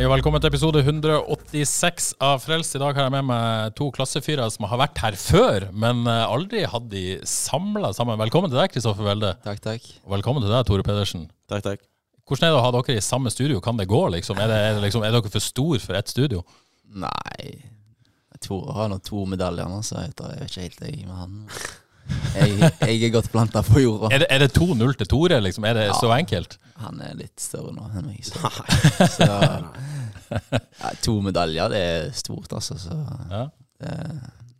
Hei og velkommen til episode 186 av Frelst. I dag har jeg med meg to klassefyrer som har vært her før, men eh, aldri hadde de samla sammen. Velkommen til deg, Kristoffer Welde. Takk, takk. Og velkommen til deg, Tore Pedersen. Takk, takk. Hvordan er det å ha dere i samme studio? Kan det gå, liksom? Er, det, er, det liksom, er dere for store for ett studio? Nei Jeg tror jeg har nå to medaljer nå, så jeg vet jeg vet ikke helt jeg med han. Jeg, jeg er godt planta på jorda. Er det, er det 2-0 til Tore, liksom? Er det så enkelt? Han er litt større nå enn meg. Så, så ja, To medaljer, det er stort, altså. Så Ja. det,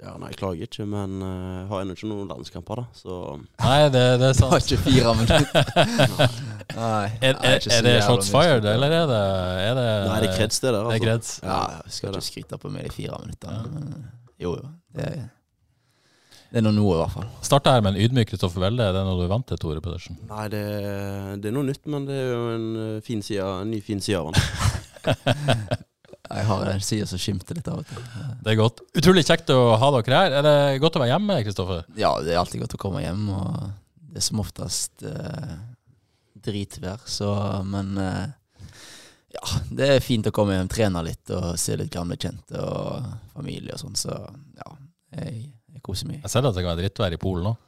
Ja, nei, jeg klager ikke, men eh, har ennå ikke noen landskamper, da. Så Nei, det, det er det var sant. ikke fire minutter. Nei, Er, jeg er, ikke så er det jævla shots mye fired, skryt. eller er det, er det Nei, det er kreds, det Det der. altså. altså. er kreds. Ja, jeg det skal er ikke skryte på meg de fire minuttene, men jo, jo. Det, det er nå noe, i hvert fall. Starta her med en ydmyk Kristoffer Welde. Er det noe du er vant til, Tore Pedersen? Nei, det, det er noe nytt, men det er jo en, eh, fin side, en ny fin side av den. Jeg har en side som skimter litt av og til. Det er godt. Utrolig kjekt å ha dere her. Er det godt å være hjemme, Kristoffer? Ja, det er alltid godt å komme hjem, og det er som oftest eh, dritvær, så Men eh, ja, det er fint å komme hjem, trene litt og se litt gamle kjente og familie og sånn, så ja. Jeg, jeg koser meg. Jeg ser at det kan være drittvær i Polen òg.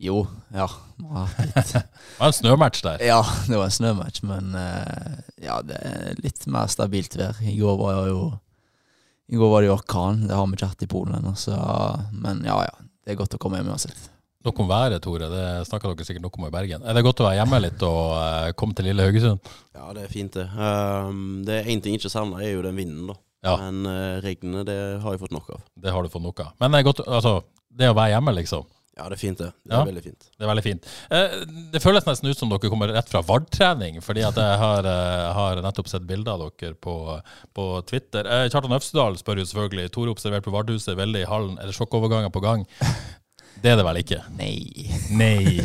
Jo, ja. Må ha litt Det var en snømatch der. Ja, det var en snømatch, men eh, ja, det er litt mer stabilt vær. I går var det jo I går var det jo orkan. Det har vi ikke hatt i Polen ennå, så Men ja, ja. Det er godt å komme hjem uansett. Nok om været, Tore. Det snakka dere sikkert nok om i Bergen. Er det godt å være hjemme litt og eh, komme til lille Haugesund? Ja, det er fint, det. Um, det er én ting jeg ikke savner, er jo den vinden, da. Ja. Men eh, regnet, det har jeg fått nok av. Det har du fått nok av. Men det er godt, altså, det å være hjemme, liksom. Ja, det er fint, det. Det er Ja. veldig fint. Det er veldig fint. Eh, det føles nesten ut som dere kommer rett fra Vard-trening, fordi at jeg har, eh, har nettopp sett bilder av dere på, på Twitter. Eh, Kjartan Øfsedal spør jo selvfølgelig. Tore observert på Vardhuset, veldig i hallen. Er det sjokkoverganger på gang? Det er det vel ikke? Nei. Nei.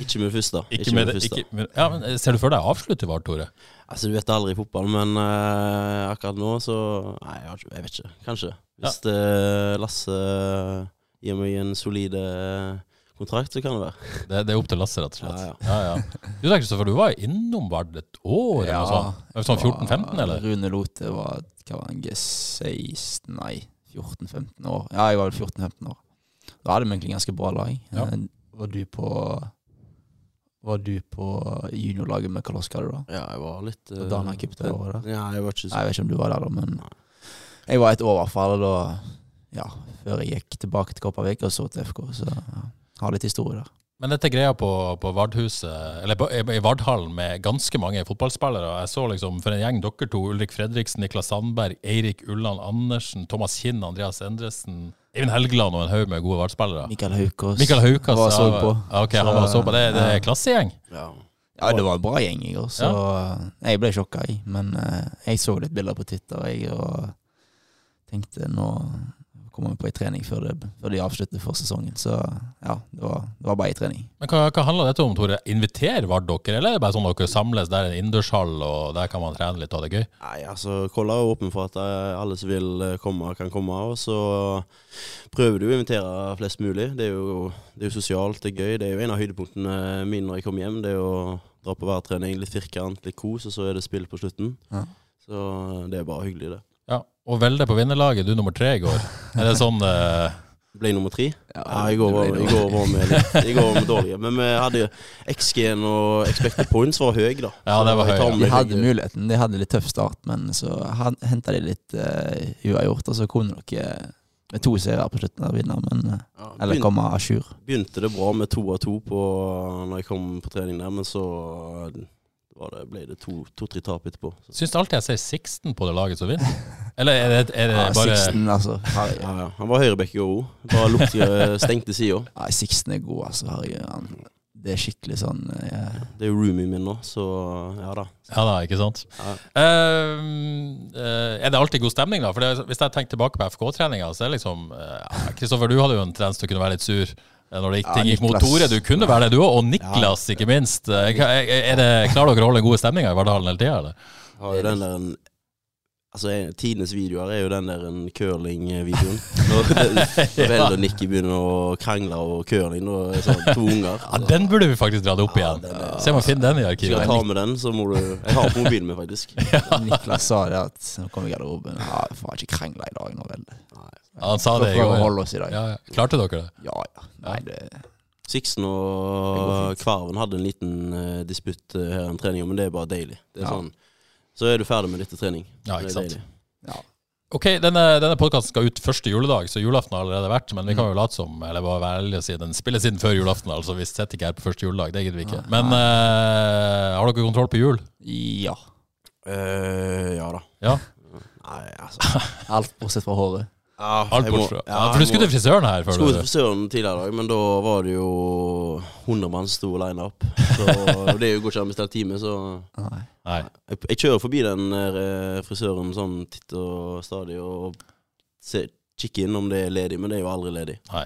Ikke med først, da. Ikke med det. Ikke, med, ja, men eh, ser du for deg å avslutte i Vard, Tore? Altså, du vet aldri i fotball, men eh, akkurat nå så Nei, jeg, har ikke- jeg vet ikke. Kanskje. Hvis eh, Lasse gir meg en solid eh, kontrakt, så kan det være. Det, det er opp til Lasse, rett og slett. Ja, Ja, ja. Du tenker Kristoffer, du var jo innom Vard et år, eller noe sånt? Det var Sånn 14-15, eller? Rune Lote var hva var han, G16 Nei, 14-15 år. Ja, jeg var vel 14-15 år. Da hadde vi egentlig ganske bra lag. Ja. Eh, Var du på Var du på juniorlaget med Kaloska da? Ja, jeg var litt eh, Og Dana Cup det året der? Ja, jeg var ikke Nei, så jeg vet ikke om du var der, da, men jeg var et år i hvert fall da, ja, før jeg gikk tilbake til Kopervik og så til FK. Så ja, har litt historie der. Men dette greia på, på Vardhuset, eller på, i Vardhallen med ganske mange fotballspillere. Jeg så liksom for en gjeng dere to, Ulrik Fredriksen, Niklas Sandberg, Eirik Ulland Andersen, Thomas Kinn, Andreas Endresen, Eivind Helgeland og en haug med gode Vard-spillere. Mikael Haukås. Mikael Haukas var så ja, på. ja, Ok, han var så på. Det, det er klassegjeng. ja. Ja, det var en bra gjeng, jeg òg, så eh, jeg ble sjokka, jeg. Men eh, jeg så litt bilder på Twitter, jeg, og tenkte nå kommer vi på ei trening før, det, før de avslutter for sesongen. Så ja, det var, det var bare ei trening. Men hva, hva handler dette om, Tore? Inviterer Vard dere, eller er det bare sånn dere samles der i en innendørshall, og der kan man trene litt og ha det gøy? Nei, altså, Kolla er åpen for at eh, alle som vil eh, komme, kan komme. Og så prøver du å invitere flest mulig. Det er, jo, det er jo sosialt, det er gøy. Det er jo en av høydepunktene mine når jeg kommer hjem. Det er jo å dra på værtrening, litt firkant, litt kos, og så er det spill på slutten. Ja. Så det er bare hyggelig, det. Ja, og Velde på vinnerlaget, du nummer tre i går. Er det sånn eh, Ble nummer tre? Ja, Ja, i går var det ble i går var vi litt- i går var vi dårlige. Men vi hadde XG-en og Expected Points var høy, da. Ja, det var Så jeg høy, tar ja. med De meg hadde begge. muligheten, de hadde litt tøff start, men så henta de litt eh, uavgjort, og så kunne dere eh, med to seire på slutten av vinne, men eh, Ja, Eller begynte- komme à jour. begynte det bra med to av to på, når jeg kom på trening der, men så var det, ble det to- to-tre tap etterpå. Så, Syns du alltid jeg ser Sixten på det laget som vinner? Eller er det, er det Ja, Eh, bare Sixten, altså. Herregud. ja, ja. Han var høyrebekk i år òg. Bare lukte stengte sida. Nei, Sixten er god, altså. Herregud. Han, det er skikkelig sånn eh, Det er jo roomien min nå, så ja da. Ja da, ikke sant. Ehm, eh, er det alltid god stemning, da? For det, Hvis jeg tenker tilbake på FK-treninga, så er det liksom eh, Kristoffer, du hadde jo en tendens til å kunne være litt sur eh, når det gikk, Ja, ting gikk mot Niklas. Tore. Du kunne være det, du òg. Og Niklas, ikke minst. Eh, hva- Er er det, klarer dere å holde den gode stemninga i Vardøhallen hele tida, eller? Har jo den der en, Altså, en- tidenes videoer er jo den der en curling-videoen. Når Vell og Nikki begynner å krangle og curling, og er sånn to unger. Ja, den burde vi faktisk dratt opp igjen. Se om jeg finner den i Skal jeg arkivet. ta med den, så må du Jeg har på mobilen min, faktisk. Niklas sa det at Nå kom i garderoben. Ja, vi får ikke krangle i dag nå, vel. Han sa Vi det i prøver å går. holde oss i dag. Ja, ja. Klarte dere det? Ja, ja. Nei, det Sixten og Kvarven hadde en liten eh, disputt eh, her en trening, men det er bare deilig. Det er Ja. sånn. Så er du ferdig med dette trening. Ja, Det er ikke sant. deilig. ja. Ok, denne, denne podkasten skal ut første juledag, så julaften har allerede vært. Men vi Mm. kan jo late som, eller bare være ærlige og si den spilles inn før julaften. altså Vi sitter ikke her på første juledag, det gidder vi ikke. Men eh, har dere kontroll på jul? ja. Eh, ja da. Ja, Nei, altså. Alt bortsett fra håret. alt Ah, jeg må- bortsett fra. Ja, ja, for du jeg skulle må- til frisøren her før du Skulle til frisøren tidligere i dag, men da var det jo 100 mann sto line up. Så det er jo går ikke an å bestille time, så Nei. Nei. jeg, jeg kjører forbi den der, eh, frisøren sånn titt og stadig og ser, kikker inn om det er ledig, men det er jo aldri ledig. Nei.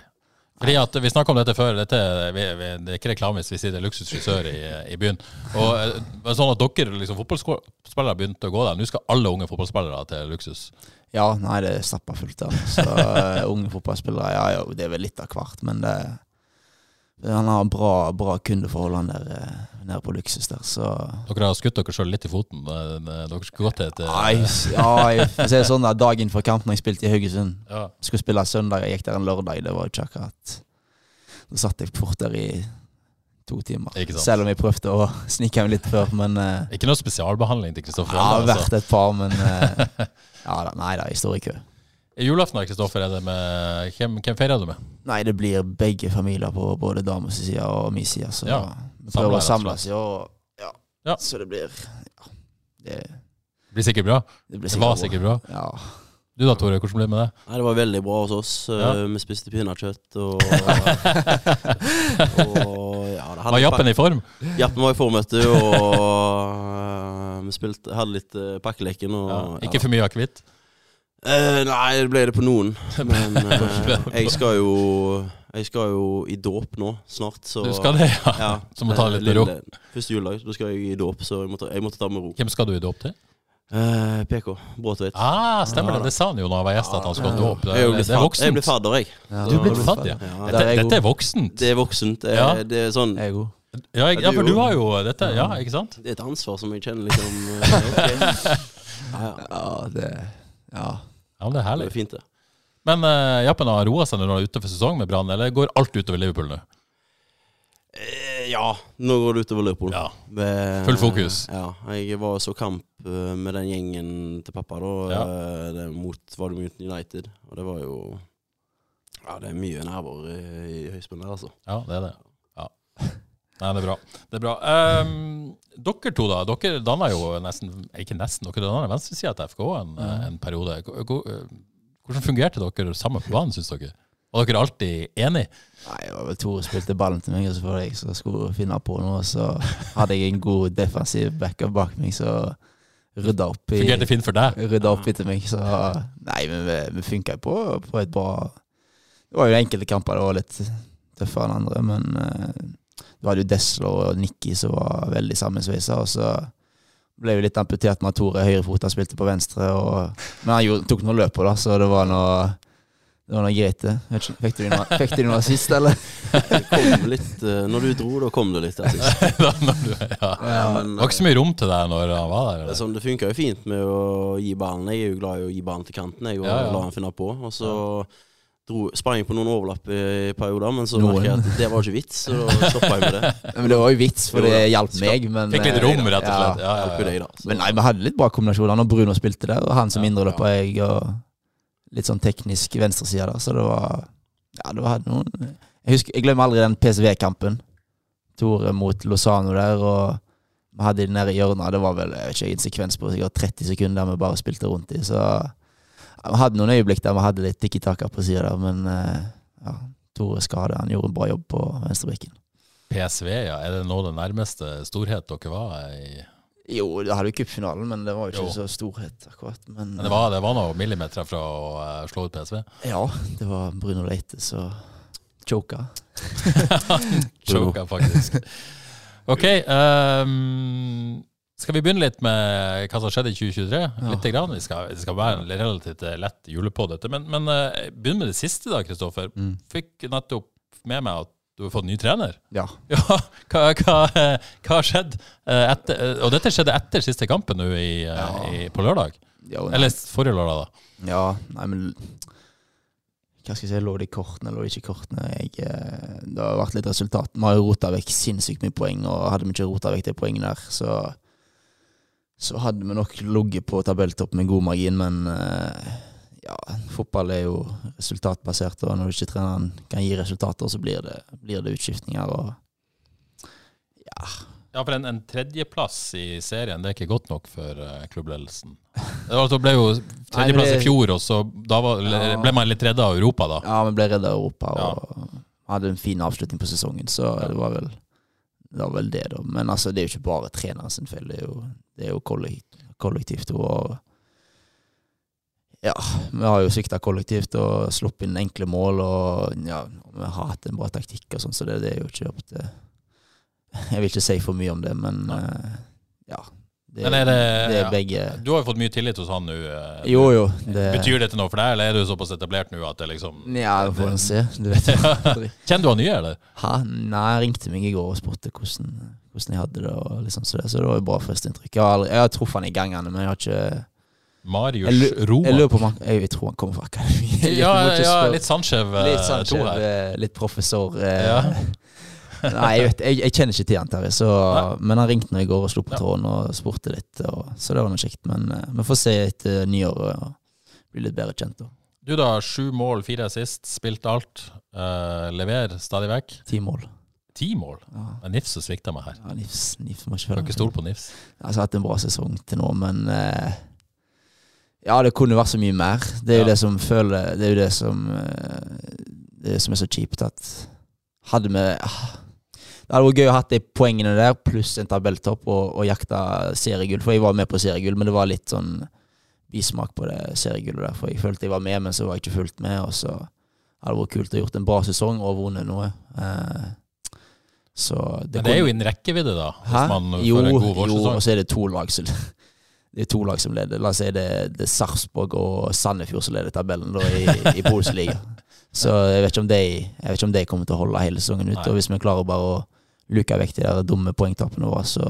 Fordi at Vi snakka om dette før. Dette, vi, vi, det er ikke reklame hvis vi sier det er luksusfrisør i, i byen. Og eh, men Sånn at dere liksom, fotballspillere begynte å gå der. Nå skal alle unge fotballspillere til luksus. Ja, nei, det er stappa fullt av. Så eh, unge fotballspillere, ja jo, det er vel litt av hvert, men det Han har bra, bra kundeforhold, han der eh, nede på luksus der, så Dere har skutt dere sjøl litt i foten. Eh, Dere skulle gått til et eh, Nei, s- ja, jeg får si det sånn da, dagen før kampen jeg spilte i Haugesund ja. Skulle spille søndag, jeg gikk der en lørdag, det var jo ikke akkurat Da satt jeg fort der i to timer. Ikke sant. Selv om jeg prøvde å snike meg litt før, men eh, Ikke noe spesialbehandling til Kristoffer. Jeg har Jolle, altså. vært et par, men eh, ja, da, Nei da, jeg står i kø. I Julaften da, Kristoffer, er det med hvem, hvem feirer du med? Nei, det blir begge familier på både dames side og min side. Så Ja, samler, vi prøver å rett og samles i år. Ja. Ja. Så det blir ja, det, Det blir sikkert bra. det blir Det var sikkert bra. Ja. Du da, Tore, hvordan blir det med deg? Nei, det var veldig bra hos oss. Eh, Ja. Vi spiste pinnekjøtt og, og ja, det Var Jappen i form? Jappen var i form, vet du, og eh, vi spilte, hadde litt eh, pakkeleken. Og, Ja. ja. Ikke for mye akevitt? Eh, nei, det ble det på noen. Men eh, jeg skal jo Jeg skal jo i dåp nå, snart. Så, Du skal det, ja. Ja, Så må ta det litt med ro. lille- Første juledag, da skal jeg i dåp, så jeg måtte, jeg måtte ta det med ro. Hvem skal du i dåp til? Eh, PK, Bråtveit. Ah, stemmer det. Det sa han jo da han var gjest, at han skulle ha dåp. Jeg er jo Det, blitt det er fad- jeg blir voksent. fadder, jeg. Du er blitt fattig, ja. Ja, Der Dette, er jeg dette god. er voksent. Det er voksent. Det, Ja. det er sånn Jeg er god. Ja, jeg, ja, for du du jo. har jo dette. Ja, ikke sant? Det er et ansvar som jeg kjenner liksom eh, ok. Ja, det Ja. Ja, men det er Det herlig. er fint, det. Men eh, Jappen har roa seg når han er ute for sesong med Brann, eller går alt utover Liverpool nå? Eh, Ja, nå går det utover Liverpool. Ja. Med- Full fokus. Ja, jeg var så kamp eh, med den gjengen til pappa da. Ja. eh, Det mot var det mot United, og det var jo Ja, det er mye nerver i, i høyspenn der, altså. Ja, det er det. Ja. Nei, det er bra. Det er bra. Ehm, dere to, da. Dere danna jo nesten Ikke nesten, dere danna venstresida til FK en, eh, en periode. Hvor- hvor- Hvordan fungerte dere sammen på banen, syns dere? Var dere alltid enige? Nei, det var vel Tore spilte ballen til meg, og så var det jeg som skulle finne på noe. Så hadde jeg en god defensiv backup bak meg, så rydda opp i Fungerte fint for deg? rydda opp etter meg. Så nei, men vi, vi funka jo på, på et bra Det var jo enkelte kamper det var litt tøffere enn andre, men eh, du hadde jo Deslo og Nikki som var veldig sammensveisa, og så ble vi litt amputert med at Tore høyrefota spilte på venstre, og, men han gjorde, tok noen løp på, da, så det var noe det var noe greit, det. Vet ikke, Fikk du noe, fikk du noe sist, eller? Det kom litt eh, Når du dro, da kom det litt. Jeg synes. Da- når du- ja. Det var ikke så mye rom til deg når han var der? Det, er Eller? sånn, det funka jo fint med å gi ballen. Jeg er jo glad i å gi ballen til kanten, jeg, og Ja, ja. la han finne på. Og så dro, sprang jeg på noen overlapp i, i perioder, men så Noen. merka jeg at det var ikke vits, så da stoppa jeg med det. Men det var jo vits, for det hjalp meg, men Fikk litt eh, rom, rett og ja. slett. Ja, ja, Hjelper ja. deg, da. Så. Men nei, vi hadde litt bra kombinasjoner når Bruno spilte der, og han som indreløper og jeg, og litt sånn teknisk venstreside der, så det var Ja, det var, hadde noen Jeg husker, jeg glemmer aldri den PSV-kampen. Tore mot Lozano der, og Vi hadde de nede i hjørnet. Det var vel jeg vet ikke, en sekvens på sikkert 30 sekunder der vi bare spilte rundt i. Så ja, vi hadde noen øyeblikk der vi hadde litt tikki-taka på sida der, men eh, ja, Tore Skade han gjorde en bra jobb på venstrebekken. PSV, ja. Er det nå det nærmeste storhet dere var i? Jo, da hadde vi cupfinalen, men det var jo ikke Jo. så storhet, akkurat. Men, Men det var, det var noen millimeter fra å eh, slå ut PSV. ja, det var Bruno Leite som choka. Choka, faktisk. OK. ehm, skal vi begynne litt med hva som skjedde i 2023? Lite grann. Vi skal, det skal være en relativt eh, lett julepod, dette. Men, men eh, begynn med det siste, da, Kristoffer. Fikk nettopp med meg at du har fått ny trener. Ja. Ja, hva, hva, eh, hva har skjedd? eh, Etter, eh, og dette skjedde etter siste kampen nå i, eh, i, på lørdag. Ja, og- Eller forrige lørdag, da. Ja, nei, men Hva skal jeg si, lå det i kortene, lå det ikke i kortene? Jeg, eh, det har vært litt resultat. Vi har jo rota vekk sinnssykt mye poeng, og hadde vi ikke rota vekk de poengene der, så så hadde vi nok ligget på tabelltopp med god margin, men eh, ja, fotball er jo resultatbasert, og når du ikke treneren kan gi resultater, så blir det, blir det utskiftninger. og Ja, for en, en tredjeplass i serien, det er ikke godt nok for eh, klubbledelsen. Det var- det ble jo tredjeplass Nei, men det- i fjor, og så da var, Ja. ble man litt redda av Europa, da. Ja, vi ble redda av Europa og hadde en fin avslutning på sesongen, så det var vel det, var vel det da. Men altså, det er jo ikke bare treneren sin feil, det er jo, det er jo kollektivt. kollektivt og, ja, vi har jo svikta kollektivt og sluppet inn enkle mål, og ja, vi har hatt en bra taktikk og sånn, så det, det er jo ikke opp til Jeg vil ikke si for mye om det, men eh, ja. Det, Men er det- det ja. er begge Du har jo fått mye tillit hos han nå. eh, Jo, jo. Det, Betyr dette noe for deg, eller er du såpass etablert nå at det liksom ja, vi får se. Du vet jo aldri. Kjenner du han nye, eller? Hæ? Nei, han ringte meg i går og spurte hvordan, hvordan jeg hadde det. Og liksom så, det så det var jo bra førsteinntrykk. Jeg har, aldri- jeg har truffet han i gangene, men jeg har ikke Jeg, Marius lu- jeg Roa. lurer på om han jeg, tror han kommer fra akademiet. Jeg Ja, må ikke ja, spørre. litt Sanchez eh, litt to Sanchez, her. eh, litt professor. eh. Ja. Nei, jeg, vet, jeg, jeg kjenner ikke til han, Terje, så- men han ringte meg i går og slo på tråden og spurte litt. Og, så det var noe kjekt. Men eh, vi får se etter nyåret og bli litt bedre kjent. da. Du da, sju mål, fire assist, spilt alt. eh, lever stadig vekk. Ti mål. Ti mål! Det er Nifs som svikta meg her. Ja, Nifs, Nifs må ikke Kan følge ikke med. stole på Nifs. Altså, jeg har hatt en bra sesong til nå, men eh, Ja, det kunne vært så mye mer. Det er jo Ja. det som føler Det er jo det som eh, Det som er så kjipt, at hadde vi ah, Det hadde vært gøy å ha de poengene der, pluss en tabelltopp, og, og jakta seriegull. For jeg var med på seriegull, men det var litt sånn bismak på det seriegullet der. For jeg følte jeg var med, men så var jeg ikke fullt med, og så hadde det vært kult å gjort en bra sesong og vunnet noe. Eh, så Men det kunne- er jo innen rekkevidde, da. Hvis Hæ? man jo, får en god jo, vårsesong. og så er det to lag som det er to lag som leder. La oss si det, det er Sarpsborg og Sandefjord som leder tabellen da, i, i Polsliga. Så jeg vet, ikke om de, jeg vet ikke om de kommer til å holde hele sesongen ut. Nei. Og hvis vi klarer bare å luke vekk de der dumme poengtapene våre, så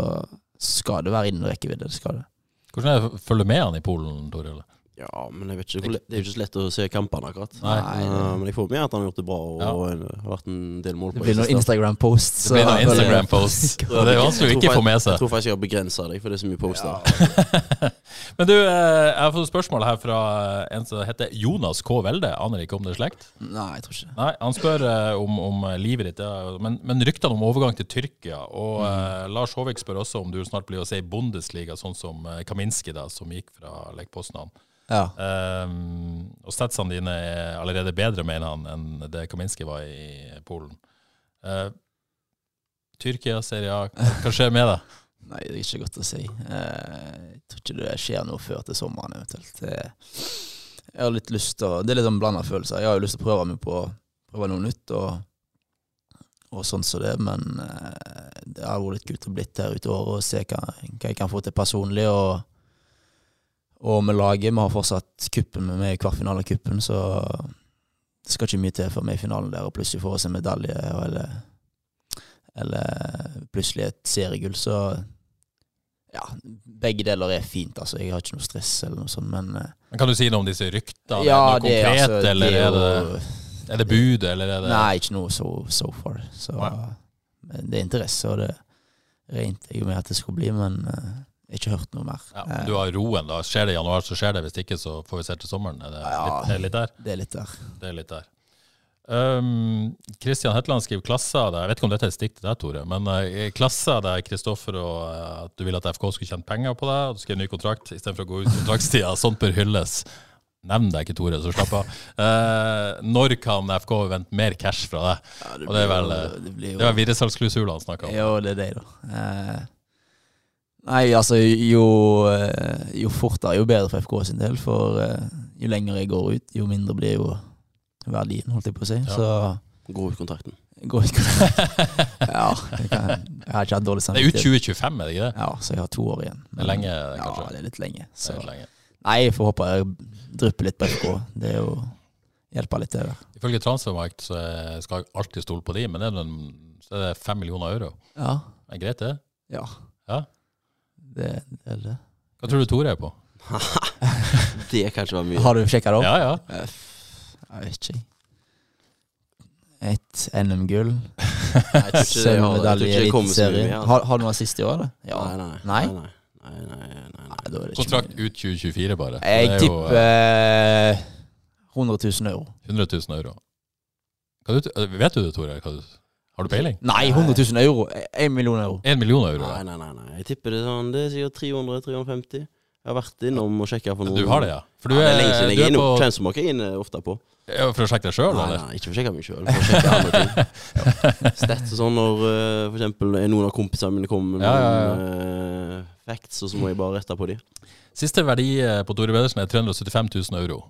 skal det være innen rekkevidde. Det skal det. Hvordan er det å følge med han i Polen, Toril? Ja, men jeg vet ikke, hvor le- det er jo ikke så lett å se kampene, akkurat. Nei. Eh, men jeg får med at han har gjort det bra og, og har vært en del mål Det på blir noen Instagram-posts. Det blir så- noen Instagram-posts. og Det er vanskelig å ikke få med Jeg seg. tror faktisk jeg har begrensa deg, for det er så mye poster. Men du, eh, jeg har fått spørsmål her fra eh, en som heter Jonas K. Welde. Aner ikke om det er slekt. Nei, jeg tror ikke det. Nei, han spør eh, om, om livet ditt, ja. men, men ryktene om overgang til Tyrkia. Og eh, Lars Håvik spør også om du snart blir å se i Bundesliga, sånn som eh, Kaminski, da, som gikk fra Lech Poznan. Ja. Ehm, og statsene dine er allerede bedre, mener han, enn det Kaminski var i Polen. Eh, Tyrkia, Serie A, hva skjer med deg? Nei, det er ikke godt å si. Eh, Jeg tror ikke det skjer noe før til sommeren eventuelt. Eh, Jeg har litt lyst til å Det er litt sånn blanda følelser. Jeg har jo lyst til å prøve meg på prøve noe nytt og, og sånn som det, men eh, det har vært litt kult å blitt her ute i året og se hva, hva jeg kan få til personlig. og og med laget, vi har fortsatt kuppen med meg i kvartfinalen av kuppen, så det skal ikke mye til før vi er i finalen der og plutselig får oss en medalje og- eller, eller plutselig et seriegull. Så ja, begge deler er fint, altså. Jeg har ikke noe stress eller noe sånt, men eh, Men Kan du si noe om disse ryktene? ja, er det noe konkret, altså, det eller er det, jo- er det bud, eller er det Nei, ikke noe so, so far. Så Nei. men det er interesse, og det regnet jeg jo med at det skulle bli, men eh, jeg har ikke hørt noe mer. Ja, Eh, du har roen, da. Skjer det i januar, så skjer det. Hvis ikke, så får vi se til sommeren. Er det Ja. litt, er det litt der? Det er litt der. Det er litt der. Um, Christian Hetland skriver klasser der Jeg vet ikke om dette er et stikk til deg, Tore, men eh, klasser der Kristoffer og eh, at du ville at FK skulle tjene penger på deg, og du skrev ny kontrakt istedenfor å gå ut kontraktstida. Sånt bør hylles. Nevn deg ikke, Tore, så slapp av. Eh, når kan FK vente mer cash fra deg? Ja, Og det er vel, eh, blir jo- det blir jo- Det var videresalgsklausuler han snakka om. Ja, det er det, da. Eh, nei, altså, jo, eh, jo fortere, jo bedre for FK sin del. For eh, jo lenger jeg går ut, jo mindre blir jo verdien, holdt jeg på å si. Ja. Så Gå ut kontrakten. går ikke Ja, jeg, kan, jeg har ikke hatt dårlig Det er ut samvittighet. 2025, er det ikke det? Ja, så jeg har to år igjen. Det er lenge, Ja, kanskje. det er litt lenge. Det Så. er helt lenge. Nei, jeg får håpe jeg drypper litt på FK. Det er jo hjelper litt, det der. Ifølge Transfermarkt så eh, skal jeg alltid stole på de, men det er, den, så er det fem millioner euro. Ja. Er det greit, det? Ja. Ja. Det, det er det. Hva tror du Tore er på? Det kan ikke være mye. Har du sjekka det opp? Ja, ja. Eh, Jeg vet ikke. Et NM-gull. Jeg tror ikke jeg har det. Jeg tror Sølvmedalje ikke i jeg kommer så mye Eliteserien. med, altså. Har, har du noe siste i år, eller? Ja. Nei, nei. Nei? nei, nei, nei, nei, nei, nei. Nei, da er det ikke Kontrakt mye. ut 2024, bare. Jeg Det er jo, tipper eh, 100 000 euro. eh, 100 000 euro. Hva du, eh, vet du det, Tore? Hva du, har du peiling? Nei, 100 000 euro! 1 million euro. Én million euro. Nei, nei, nei, nei. Jeg tipper det er sånn Det er sikkert 300-350. Jeg har vært innom og sjekka for ja. noen. Du har det, ja? For du Ja, det er, er lenge siden du jeg er er innom. på, Transformark er jeg inne eh, ofte på. ja, for å sjekke deg sjøl, Nei, eller? nei, ikke for å sjekke meg sjøl. For å sjekke andre ting. Ja. Stats og sånn når eh, for eksempel noen av kompisene mine kommer med Ja, ja, noen eh, facts, og så må jeg bare rette på de. Siste verdi eh, på Tore Pedersen er 375 000 euro.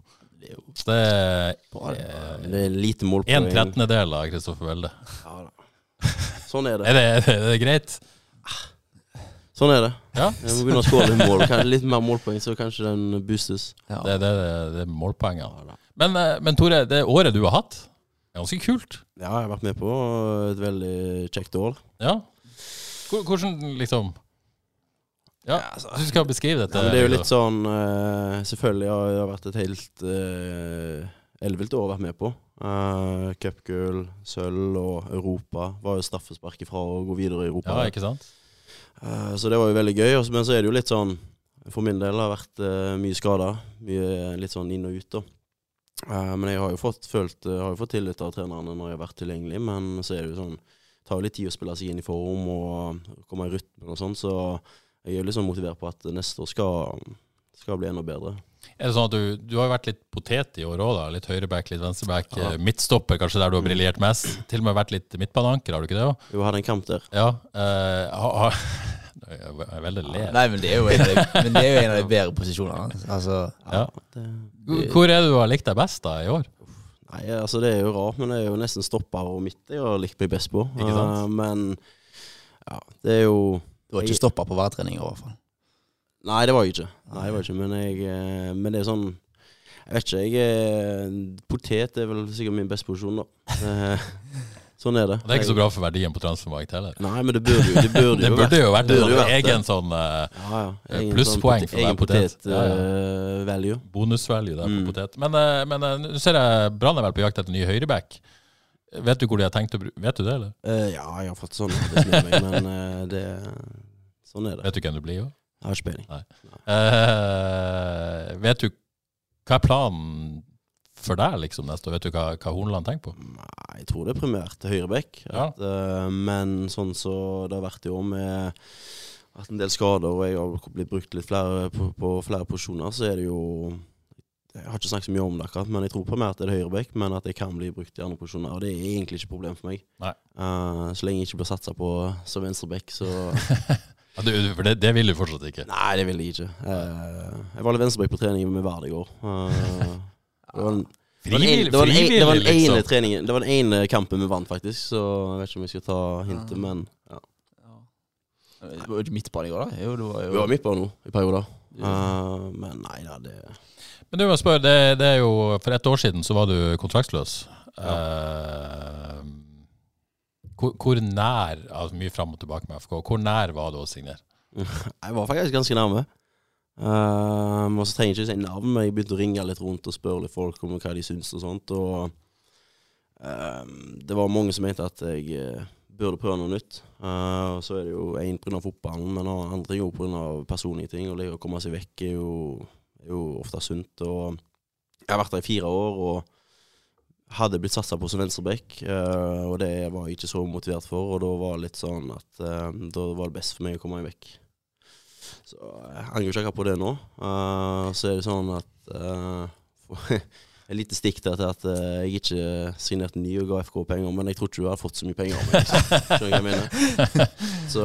Så det er eh, Det er lite mål på en trettendedel av Kristoffer Welde. Ja, da. Sånn er det. Er det, er det, er det greit? Sånn er det. Ja. Jeg må begynne å skåre litt mål. Kanskje litt mer målpoeng, så kanskje den boostes. Ja. Det, det, det er målpoengene. Men, eh, men Tore, det året du har hatt, er ganske kult. Ja, jeg har vært med på et veldig kjekt år. Ja. Hvor- Hvordan, liksom Ja, du skal beskrive dette. altså. Ja, men det er jo litt sånn eh, Selvfølgelig har det vært et helt uh, ellevilt år å være med på. Uh, Cupgull, sølv og Europa. Var jo straffespark ifra å gå videre i Europa. Ja, ikke sant? Eh, så det var jo veldig gøy. Og så- Men så er det jo litt sånn For min del har det vært eh, mye skader. Mye litt sånn inn og ut, da. Eh, men jeg har jo fått, følt, eh, har jo fått tillit av trenerne når jeg har vært tilgjengelig. Men så er det jo sånn Det tar jo litt tid å spille seg inn i form og komme i rytmen og sånn. Så jeg er jo litt sånn motivert på at neste år skal, skal bli enda bedre. Er det sånn at du, du har jo vært litt potet i år òg, da. Litt høyreback, litt venstreback. eh, Midtstopper, kanskje der du har briljert mest. Til og med vært litt midtbaneanker, har du ikke det òg? Jo, hadde en kamp der. Ja. Eh, ha, ha. Jeg er veldig ler. Nei, men det er jo en av de, men det er jo en av de bedre posisjonene. Altså, Ja. Det, Hvor- Hvor er det du har likt deg best da i år? nei, altså det er jo rart, men det er jo nesten stopper og midt jeg har likt meg best på. Ikke sant? Eh, men ja, det er jo du har ikke stoppa på hver trening i hvert fall. Nei, det var jeg ikke. Nei, det var jeg ikke Men, jeg, eh, men det er sånn Jeg vet ikke. jeg er, Potet er vel sikkert min beste posisjon, da. Eh, Sånn er det. Det er ikke så bra for verdien på transfermarkt heller. Nei, men det burde jo Det burde, Det burde jo vært det burde jo en vært det. egen sånn eh, ja, ja. Egen Plusspoeng sånn for å være egen potet. potet eh, value. bonusvalue der Mm. på potet. Men, eh, men eh, nå ser jeg Brann er vel på jakt etter ny høyreback. Vet du hvor de har tenkt å bruke Vet du det, eller? Eh, ja, jeg har fått sånn notis med meg, men eh, det Sånn er det. Vet du hvem du blir òg? Jeg har ikke peiling. Eh, vet du hva er planen for deg liksom neste år? Vet du hva, hva Hornland tenker på? Nei, jeg tror det er primært høyrebekk. Ja. At, eh, men sånn så det har vært i år med at en del skader, og jeg har blitt brukt litt flere på, på flere posisjoner, så er det jo Jeg har ikke snakket så mye om det akkurat, men jeg tror primært er det høyrebekk, men at jeg kan bli brukt i andre posisjoner. Og det er egentlig ikke et problem for meg. Nei. Eh, så lenge jeg ikke blir satsa på som venstrebekk, så Ja, du, for det, det vil du fortsatt ikke. Nei, det vil jeg ikke. Eh, jeg var litt venstrebekk på trening med Vard i går. Eh, det var en Det var den Frivillig, ene- det var den ene- det var den frivillig, ene liksom. treningen Det var den ene kampen vi vant, faktisk, så jeg vet ikke om jeg skal ta hintet, men ja. Du var jo ikke midtbane i går, da. Jo, du Vi var jo var midt på nå i perioder. Eh, men nei da, det Men du må spørre, det, det er jo For et år siden så var du kontraktsløs. Eh, hvor, hvor nær altså Mye fram og tilbake med FK. Hvor nær var du å signere? Jeg var faktisk ganske nærme. Eh, og så trenger jeg ikke si navn, men jeg begynte å ringe litt rundt og spørre litt folk om hva de syns og sånt. Og eh, det var mange som mente at jeg eh, burde prøve noe nytt. Eh, og så er det jo én pga. fotballen, men den andre er jo pga. personlige ting. Og det å komme seg vekk er jo, er jo ofte sunt. Og jeg har vært der i fire år og hadde blitt satsa på som venstreback, eh, og det var jeg ikke så motivert for. Og da var det litt sånn at eh, da var det best for meg å komme meg vekk. Så jeg angrer ikke akkurat på det nå. Eh, så er det sånn at eh, Et lite stikk der til at eh, jeg ikke signerte ny og ga FK penger, men jeg tror ikke du hadde fått så mye penger av meg. liksom. Skjønner du hva jeg mener? Så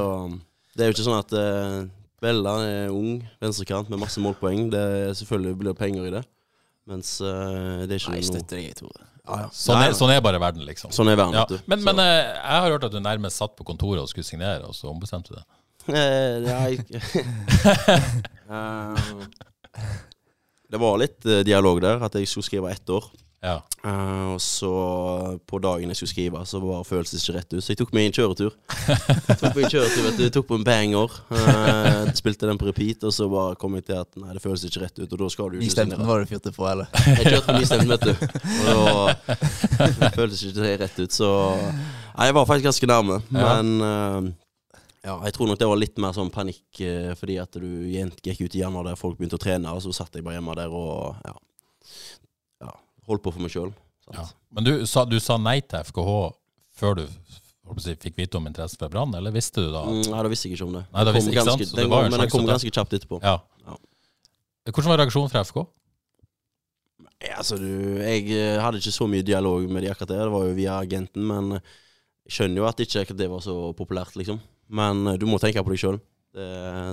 det er jo ikke sånn at eh, Bella er ung, venstrekant med masse målpoeng. Det er selvfølgelig blir det penger i det, mens eh, det er ikke Nei, jeg noe støtter deg, jeg, Tore. Sånn Nei, er, sånn er bare verden, liksom. Sånn er verden, Ja. vet du. Men, men Så- eh, jeg har hørt at du nærmest satt på kontoret og skulle signere, og så ombestemte du deg. Eh, Nei Eh, Det var litt eh, dialog der, at jeg skulle skrive ett år. Ja. Eh, og så på dagen jeg skulle skrive, så bare føltes det ikke rett ut. Så jeg tok meg en kjøretur. tok meg en kjøretur, vet du. Tok på en banger. Eh, spilte den på repeat, og så bare kom jeg til at nei, det føles ikke rett ut, og da skal du ikke Nystemten signere. var det du fyrte på, eller? Jeg kjørte på nystemt, vet du. Og da føltes ikke det rett ut, så Nei, jeg var faktisk ganske nærme, Ja. men eh, ja, jeg tror nok det var litt mer sånn panikk eh, fordi at du gent- gikk ut i januar der folk begynte å trene, og så satt jeg bare hjemme der og ja, ja holdt på for meg sjøl. Ja. Men du sa, du sa nei til FKH før du holdt på å si, fikk vite om interessen fra Brann, eller visste du da? Mm, Nei, da visste jeg ikke om det. Nei, da Det visste kom jeg ikke, ganske- sant? Så den det var jo kom- en Men det sjanse kom der. ganske kjapt etterpå. Ja. Ja. Hvordan var reaksjonen fra FK? Ja, altså, du, jeg eh, hadde ikke så mye dialog med de akkurat der. Det var jo via agenten, men eh, jeg skjønner jo at ikke akkurat det var så populært, liksom. Men eh, du må tenke på deg sjøl.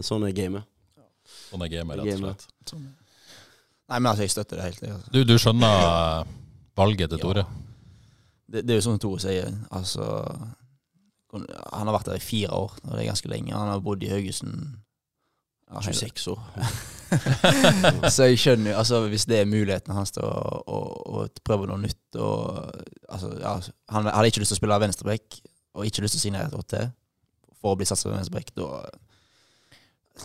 Sånn er gamet. Sånn er gamet, rett og Gamet. slett. Nei, men altså, jeg støtter det helt. jeg, Altså. Du, du skjønner eh, valget til Tore? Det, det er jo sånn Tore sier. Altså, han har vært der i fire år, og det er ganske lenge. Han har bodd i Haugesund. Ja, hele- 26 år. Så jeg skjønner jo, altså hvis det er muligheten hans til å, å, å prøve noe nytt og, altså, ja, Han hadde ikke lyst til å spille venstreback, og ikke lyst til å signere et år til for å bli satsa på venstreback. Da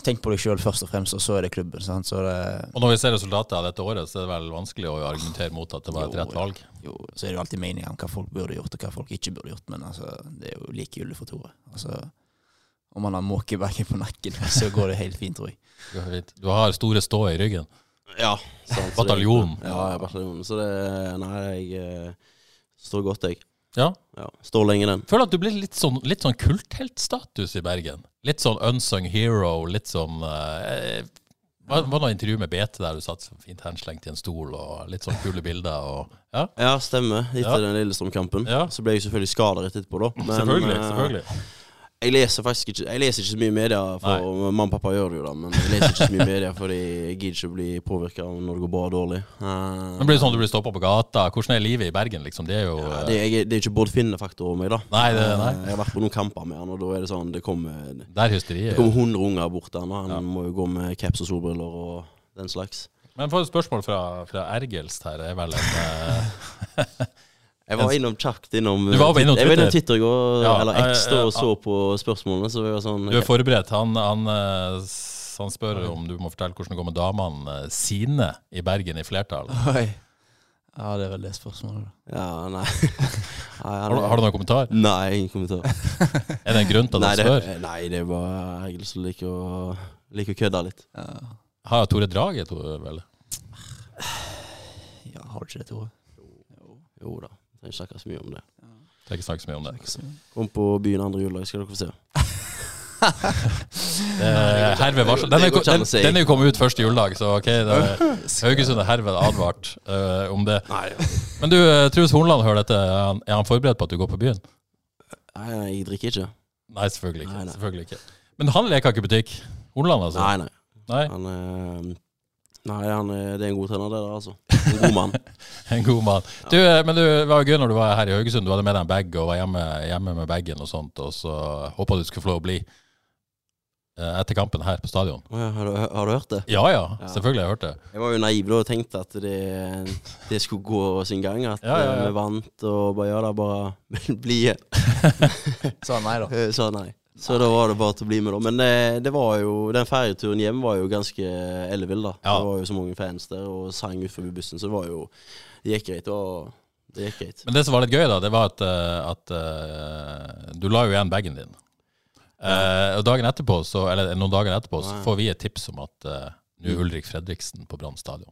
Tenk på deg sjøl først og fremst, og så er det klubben. Sant? Så, det, Og når vi ser resultatet av dette året, så er det vel vanskelig å argumentere mot at det var et Jo, rett valg. jo, så er det jo alltid meninger om hva folk burde gjort, og hva folk ikke burde gjort, men altså, det er jo likegyldig for Tore. Altså, om han har måkebacken på nakken, så går det helt fint, tror jeg. Du har store stå i ryggen. Ja. sant, Sånn, så det- Bataljon. Ja, ja, bataljon. Så det Nei, jeg eh, står godt, jeg. Ja. Ja, står lenge, den. Føler at du blir litt sånn, litt sånn kultheltstatus i Bergen. Litt sånn unsung hero, litt sånn eh, Var var det noe intervju med BT der du satt så fint henslengt i en stol, og litt sånn kule bilder og Ja, Ja, stemmer. Etter Ja. den Lillestrøm-kampen. Ja. Så ble jeg selvfølgelig skada rett etterpå, da. Men, selvfølgelig. eh, selvfølgelig. Jeg leser faktisk ikke Jeg leser ikke så mye media, for mamma og pappa gjør det jo, da. Men jeg leser ikke så mye media fordi jeg gidder ikke å bli påvirka av når det går bra og dårlig. Eh, Men blir det sånn at du blir stoppa på gata? Hvordan er livet i Bergen, liksom? Det er jo ja, det, jeg, det er ikke Bård Finne-faktor over meg, da. Nei, det- nei. Eh, Jeg har vært på noen kamper med han, og da er det sånn Det kommer det eh, der hysteriet er. kommer 100 unger bort til han, og han må jo gå med caps og solbriller og den slags. Men for et spørsmål fra, fra Ergelst her er vel en eh, Jeg var innom kjapt innom eh, Du var innom Jeg var innom Twitter. Twitter i går, Ja, eller X, da, eh, eh, og så på spørsmålene, så vi var sånn Du er forberedt. Han, han, eh, s- han spør om du må fortelle hvordan det går med damene eh, sine i Bergen i flertall. Ja, det er vel det spørsmålet, da. Ja, nei. nei Har du, han, har du noen kommentar? Nei, ingen kommentar. Er det en grunn til Nei at det, han spør? nei, det er bare Egil som liker å, liker å kødde litt. Har Tore Draget Tore, vel? Ja, har du ikke det, Tore? Jo da, jeg snakker så mye om det. Skal ikke snakke så mye om det. Kom på byen andre juledag, skal dere få se. Eh, herved varsel. Den er, det går ikke an den, å si. den er jo kommet ut første juledag, så ok. Det er, Haugesund er herved advart eh, om det. Men du, eh, Truls Hornland hører dette. Er han, er han forberedt på at du går på byen? Nei, nei, jeg drikker ikke. Nei, selvfølgelig ikke. Nei, nei. Selvfølgelig ikke. Men han leker ikke butikk. Hornland, altså. Nei, nei. Nei. Han er Nei, han er, det er en god trener, det der, altså. En god mann. En god mann. Du, eh, men du, det var jo gøy når du var her i Haugesund. Du hadde med deg en bag og var hjemme, hjemme med bagen og sånt, og så håpa du skulle få lov å bli eh, etter kampen her på stadion. Å ja, Har du, har du hørt det? Ja ja, selvfølgelig. Jeg hørte det. Jeg var jo naiv da og tenkte at det, det skulle gå sin gang. At Ja, ja, ja. eh, vi vant og bare ja da, bare bli igjen. Sa han nei, da? Eh, Sa nei. Så da var det bare til å bli med, da. Men eh, det var jo, den ferjeturen hjem var jo ganske ellevill, da. Ja. Det var jo så mange fans der, og sang utenfor bussen, så det var jo Det gikk greit. Og det gikk greit. Men det som var litt gøy, da, det var at, eh, at eh, du la jo igjen bagen din. Eh, og dagen etterpå, så, eller noen dager etterpå så får vi et tips om at eh, nå er Ulrik Fredriksen på Brann stadion.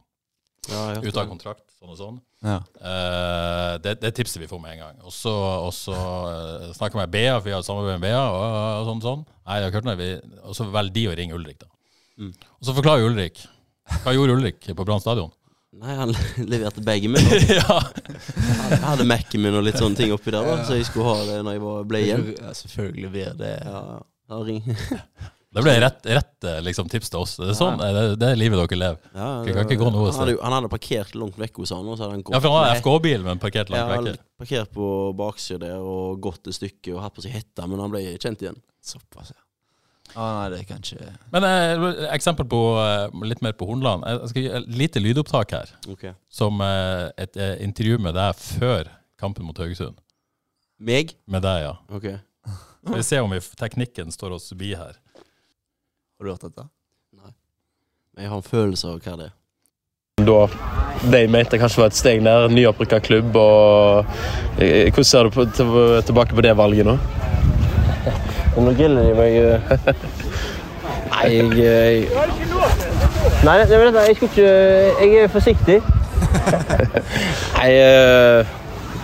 Ja, jeg hørte Ute av det. kontrakt, sånn og sånn. Ja. Eh, det, det tipset vi får med en gang. Og så, og så eh, snakker vi med BA, for vi har et samarbeid med BA. Og, og sånn, sånn. Nei, jeg har ikke hørt noe. Vi, og så velger de å ringe Ulrik, da. Og så forklarer Ulrik. Hva gjorde Ulrik på Brann stadion? Nei, han leverte bagen min. da. ja. Jeg hadde Mac-en min og litt sånne ting oppi der, da, så jeg skulle ha det når jeg var- ble igjen. Ja, selvfølgelig blir det Ja, ja. Ja, ring. Det ble rett, rett eh, liksom, tips til oss. Det er, sånn, det, det er livet dere lever. Ja, Det kan ikke gå noe han, hadde, sted. jo- han hadde parkert langt vekk hos han. Og så hadde han gått Ja, for han har Nei. FK-bil, men parkert Ja, langt han vekk. parkert på baksida der og gått et stykke og hatt på seg hetta, men han ble kjent igjen. såpass, ja. Ah, nei, det kan ikke Men eh, eksempel på eh, litt mer på Hornland. Jeg skal gi et lite lydopptak her, Ok som eh, et eh, intervju med deg før kampen mot Haugesund. Meg? Med deg, ja. Ok Skal vi se om vi, teknikken står oss forbi her. Har du hørt dette? Men jeg har en følelse av hva det er. da de mente kanskje var et steg ned, nyopprykka klubb. og eh, Hvordan ser du på, til- tilbake på det valget nå? Nå gjelder de meg eh. Nei, jeg eh, Nei, jeg skulle ikke eh, Jeg er forsiktig. Nei, eh,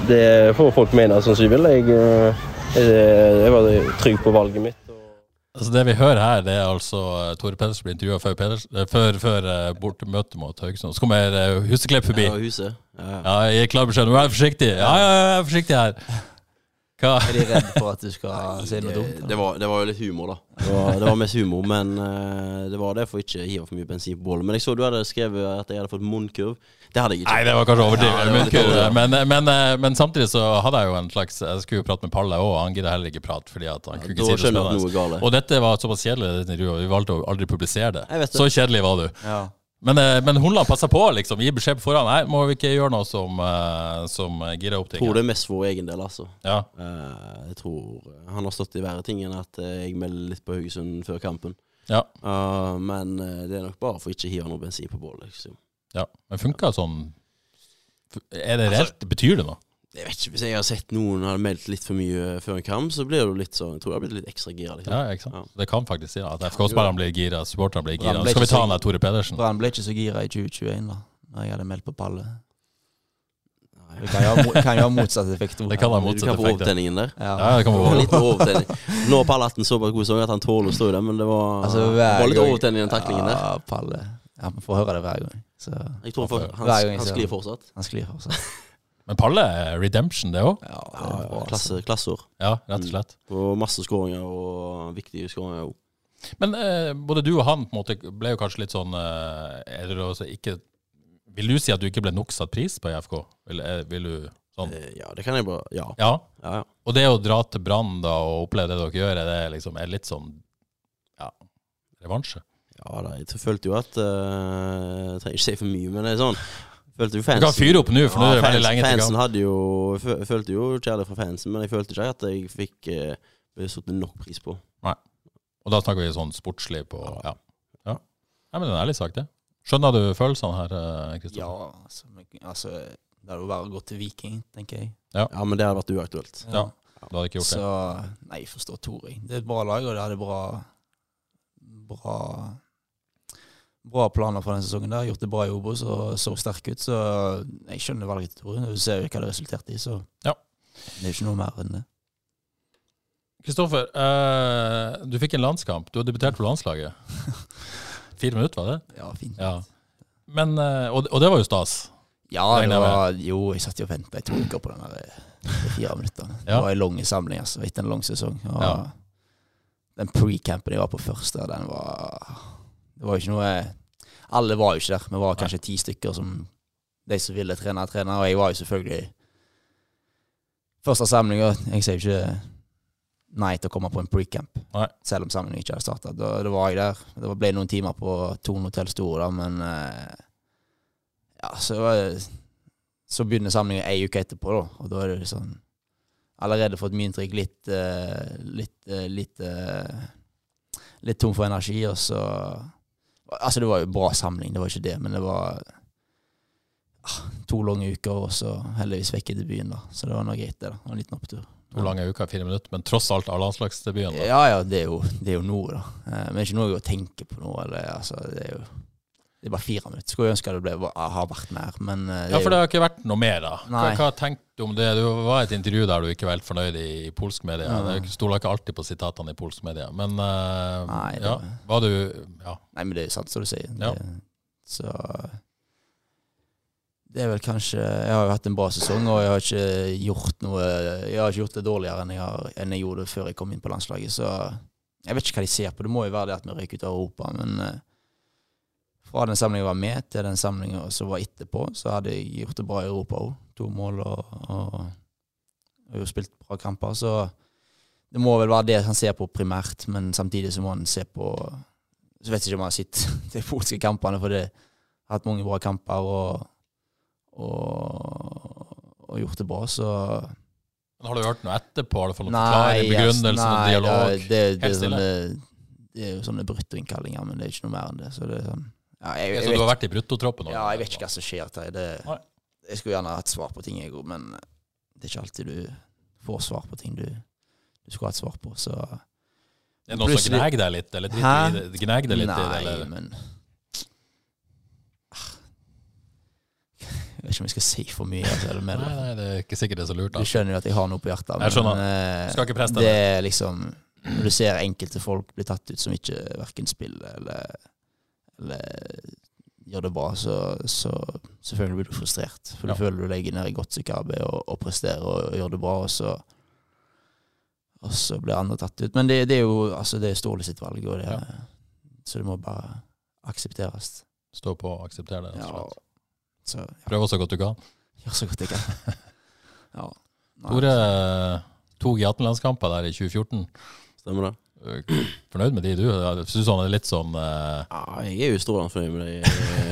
det får folk mene sånn som de vil. Jeg, eh, jeg, eh, jeg var trygg på valget mitt. Altså Det vi hører her, det er altså eh, Tore Pedersen blir intervjua før, Peders- eh, før, før eh, bort møtet mot Haugesund. Så kommer eh, Huseklepp forbi. Ja, huset. Ja, ja. Ja, jeg gir klar beskjed. Nå er jeg forsiktig. Ja, ja, ja, jeg er forsiktig her. Hva? Er de redd for at du skal si noe dumt? Eh, Det, det, var, det var jo litt humor, da. Det var, det var mest humor, men eh, det var det for ikke å hive for mye bensin på bålet. Men jeg så du hadde skrevet at jeg hadde fått munnkurv. Det hadde jeg ikke. Nei, det var kanskje overdrivet. Ja, det var litt munnkurv. overdrivet. men, eh, men, men samtidig så hadde jeg jo en slags Jeg skulle jo prate med Palle òg, han gidder heller ikke prate. Fordi at han kunne da ikke si det skjønner jeg at spennende. noe er galt. Og dette var såpass kjedelig, dette intervjuet, vi valgte å aldri publisere det. Jeg vet det. Så kjedelig var du. Ja. Men, eh, men Holland passa på, liksom. Gi beskjed på forhånd. Nei, må vi ikke gjøre noe som, eh, som eh, girer opp Jeg tror ting? det er mest for vår egen del, altså. Ja. Eh, jeg tror han har stått i verre ting enn at eh, jeg melder litt på Haugesund før kampen. Ja. Eh, men eh, det er nok bare for ikke å hive noe bensin på bålet. Liksom. ja. Men funka sånn Er det reelt? Altså- Betyr det noe? Jeg vet ikke, Hvis jeg har sett noen hadde meldt litt for mye før en kamp, så blir det jo litt sånn Jeg tror jeg har blitt litt ekstra gira. Liksom. Ja, ikke sant? Ja. Det kan faktisk si ja, at FK-spillerne blir gira, supporterne blir gira. Nå Han ble skal vi ikke ta så- han der Tore Pedersen. Brann ble ikke så gira i 2021, da. Når jeg hadde meldt på pallet. Nei. Det kan jo ha, mo- kan jo ha motsatt effekt. Det kan ha Du kan motsatt få effekt. det. overtenningen der. Ja, Ja. det kan Det var være. litt overtenning. Nå har Pallatten såpass god sang at han tåler å stå i det, men det var, Altså, det hver Ah, var litt gang- overtenning i den taklingen der. Ja, pallet. Ja, man får høre det hver gang. Så Jeg tror han, han, Hver gang jeg han ser sklir han. fortsatt. han sklir fortsatt. Men Palle er redemption, det òg. Ja, det Ja, er bra, altså. Klasse, klasseår. Ja, rett og slett. Og masse skåringer og viktige skåringer òg. Men eh, både du og han på en måte ble jo kanskje litt sånn eh, er det også ikke, Vil du si at du ikke ble nok satt pris på i FK? Vil, eh, vil du sånn? Eh, Ja, det kan jeg bare Ja. Ja. ja, ja. Og det å dra til Brann da og oppleve det dere gjør, er det liksom er litt sånn ja, revansje? ja da, jeg følte jo at eh, Jeg trenger ikke si for mye, men det er sånn. Følte jo Du kan fansen fyre opp nå, for nå er det Ja, veldig fans- lenge til Fansen gang. hadde jo jeg fø- Jeg følte jo kjærlighet fra fansen, men jeg følte ikke at jeg fikk eh, ble satt nok pris på. Og da snakker vi sånn sportslig på Ja. ja. Nei, men det er ærlig sagt, det. Skjønner du følelsene her, eh, Ja, Kristoffer? altså, men, altså Det hadde jo bare gått til Viking, tenker jeg. Ja, men det hadde vært uaktuelt. Ja. Du hadde ikke gjort det? Så Nei, jeg forstår Tore. jeg. Det er et bra lag, og det hadde bra Bra Bra planer for denne sesongen. der Gjort det bra i Obos og så sterk ut. Så jeg skjønner valget til Tore. Du ser jo hva det resulterte i, så Ja. det er jo ikke noe mer enn det. Kristoffer, eh, du fikk en landskamp. Du har debutert for landslaget. Fire minutter, var det? Ja, fint. Ja. Men, eh, og, og det var jo stas. Ja, det Regner jeg var, jo, jeg satt jo og venta i to uker på den der eh, de fire minuttene. Ja. Det var en lang samling altså, etter en lang sesong. Og Ja. Den pre-campen jeg var på først, der, den var Det var jo ikke noe Alle var jo ikke der. Vi var kanskje ti stykker som de som ville trene, trene. Og jeg var jo selvfølgelig Første samling, og jeg sier jo ikke nei til å komme på en pre-camp. Nei. Selv om samlingen ikke hadde starta. Da, da var jeg der. Det var- ble noen timer på Tone Hotell Store, da, men eh, Ja, så var det- Så begynner samlingen ei uke etterpå, da, og da er det jo sånn Allerede fått mye inntrykk, litt eh, Litt eh, litt, eh, litt tom for energi, og så Altså, det var jo bra samling, det var ikke det, men det var ah, to lange uker, og så heldigvis vekk i debuten, da. Så det var noe greit, det. da, Det var En liten opptur. To lange uker, fire minutter, men tross alt av landslagsdebuten. da. Ja, ja, det er jo, det er jo noe, da. Eh, Men det er ikke noe å tenke på nå. Eller, altså, det er jo Det er bare fire minutter. Skulle jeg ønske det ble, har vært mer, men eh, Ja, for det er jo- har ikke vært noe mer, da. Hva, Nei. hva tenkte du om det? Du var i et intervju der du ikke var helt fornøyd i, i polsk media. Ja. Jeg stoler ikke alltid på sitatene i polsk media, men eh, Nei, det ja, var- var du Ja. Nei, men det er jo sant som du sier. Ja. Det, så det er vel kanskje Jeg har jo hatt en bra sesong, og jeg har ikke gjort noe Jeg har ikke gjort det dårligere enn jeg, har, enn jeg gjorde det før jeg kom inn på landslaget, så jeg vet ikke hva de ser på. Det må jo være det at vi røyk ut av Europa, men eh, fra den samlingen jeg var med, til den samlingen som var etterpå, så hadde jeg gjort det bra i Europa òg. To mål og, og, og jo spilt bra kamper, så det må vel være det han ser på primært, men samtidig så må han se på så vet jeg ikke om jeg har sett de polske kampene, for det jeg har hatt mange bra kamper og, og, og gjort det bra, så Men har du hørt noe etterpå? Har du fått noen Nei, forklaring, begrunnelse, noen nei, dialog? det, det, det, Helt er stille. sånne, det er jo sånne bruttoinnkallinger, men det er ikke noe mer enn det. Så det er sånn ja, Ja, jeg, jeg, så du har vet, vært i bruttotroppen? nå? ja, jeg vet ikke hva som skjer. Terje. Nei. Det, jeg skulle gjerne hatt svar på ting, jeg òg, men det er ikke alltid du får svar på ting du, du skulle hatt svar på. Så Er det noen som Plutselig- gnager deg litt? Eller Hæ? driter i det? Gnager deg litt i det? Nei, Eller? men Ah. Jeg vet ikke om jeg skal si for mye. Altså, eller mer. Nei, nei, det er ikke sikkert det er så lurt. Du Da. skjønner jo at jeg har noe på hjertet. Jeg skjønner. eh, Skal ikke presse deg det er liksom Når du ser enkelte folk bli tatt ut som ikke verken spiller eller, eller gjør det bra, så, så selvfølgelig blir du frustrert. For Ja. du føler du legger ned i godt stykke arbeid og, og presterer og, og gjør det bra, og så og så blir andre tatt ut. Men det, det er jo altså, det er Ståle sitt valg, og det, Ja. så det må bare aksepteres. Stå på og akseptere det. rett og Ja, slett. så ja, Prøv så godt du kan. gjør så godt jeg kan. Ja. Nei. Tore, to G18-landskamper der i 2014. Stemmer det? Fornøyd med de, du? Syns han er litt sånn eh, Ja, jeg er jo strålende fornøyd med de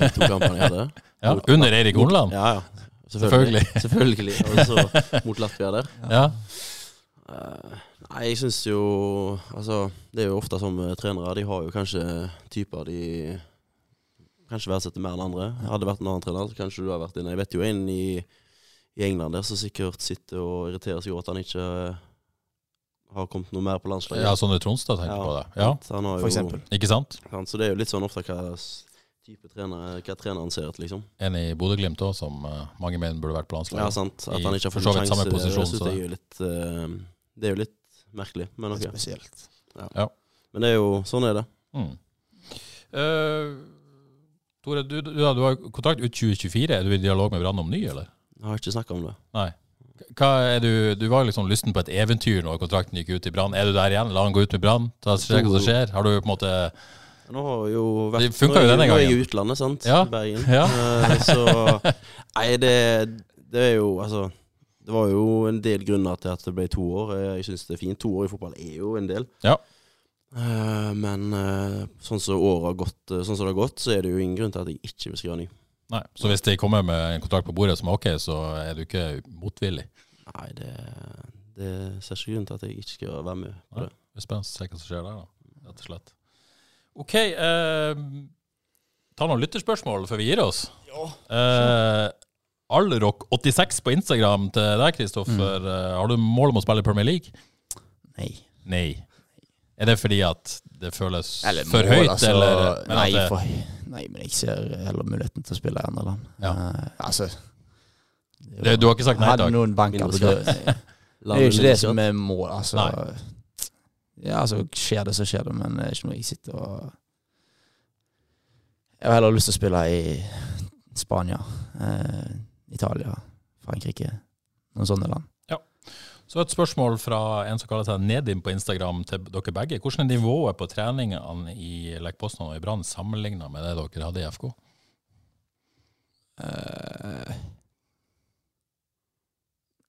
eh, to kampene jeg hadde. ja, Under Eirik Horneland? Ja, ja. Selvfølgelig. Selvfølgelig. Og så mot Latvia der. Ja. Eh, Nei, jeg syns jo Altså, det er jo ofte sånn med trenere. De har jo kanskje typer de kanskje verdsetter mer enn andre. Hadde det vært en annen trener, så kanskje du har vært inne. Jeg vet jo en i, i England der som sikkert sitter og irriterer seg over at han ikke eh, har kommet noe mer på landslaget. ja, Sondre Tronstad tenker på det. Ja, sant? Han har jo, For eksempel. Ikke sant? sant? Så det er jo litt sånn ofte hva s- type trener hva treneren ser etter, liksom. En i Bodø-Glimt òg, som eh, mange mener burde vært på Ja, landslaget. sant. At I han ikke har for fått så noen vidt samme sjanse. Det, posisjon, synes så jeg er jo litt, eh, det er jo litt merkelig, men ok. Spesielt. Men det er jo sånn er det. Mm. Eh, Tore, du, du, ja, du har kontrakt ut 2024. Er du i dialog med Brann om ny, eller? Jeg har ikke snakka om det. Hva er du, du var jo liksom lysten på et eventyr når kontrakten gikk ut i Brann. Er du der igjen? La han gå ut med Brann? Ta og Se hva som skjer? Har du på en måte Nå har jeg jo vært Det funker jo nå er jeg- denne Nå er jeg gangen. i utlandet, sant? Ja. I Bergen. Ja. Eh, så Nei, det, det er jo Altså Det var jo en del grunner til at det ble to år. Eh, Jeg syns det er fint. To år i fotball er jo en del. Ja. Eh, men eh, sånn som året har gått, eh, sånn som det har gått, så er det jo ingen grunn til at jeg ikke vil skrive ny. Nei. Så hvis de kommer med en kontrakt på bordet som er ok, så er du ikke motvillig? Nei, det, det ser ikke grunn til at jeg ikke skal være med på Nei. det. Det er spennende å se hva som skjer der, da. Rett og slett. OK. Eh, ta noen lytterspørsmål før vi gir oss. Eh, Allrock86 på Instagram til deg, Kristoffer. Mm. Eh, Har du mål om å spille i Premier League? Nei. Nei. Er det fordi at det føles Eller for mål, høyt, altså. eller men nei, at det, for, nei, men jeg ser heller muligheten til å spille i andre land. Ja. Eh, altså det er jo- det, Du har ikke sagt nei Hadde takk? noen banker på Mindre døren Det er jo ikke det som er mål, altså. Nei. Ja, altså, skjer det, så skjer det, men det er ikke noe jeg sitter og Jeg har heller lyst til å spille i Spania, eh, Italia, Frankrike, noen sånne land. Så et spørsmål fra en som kaller seg Nedim på Instagram til dere begge. Hvordan er nivået på treningene i Lech Poznan og i Brann sammenligna med det dere hadde i FK? Eh,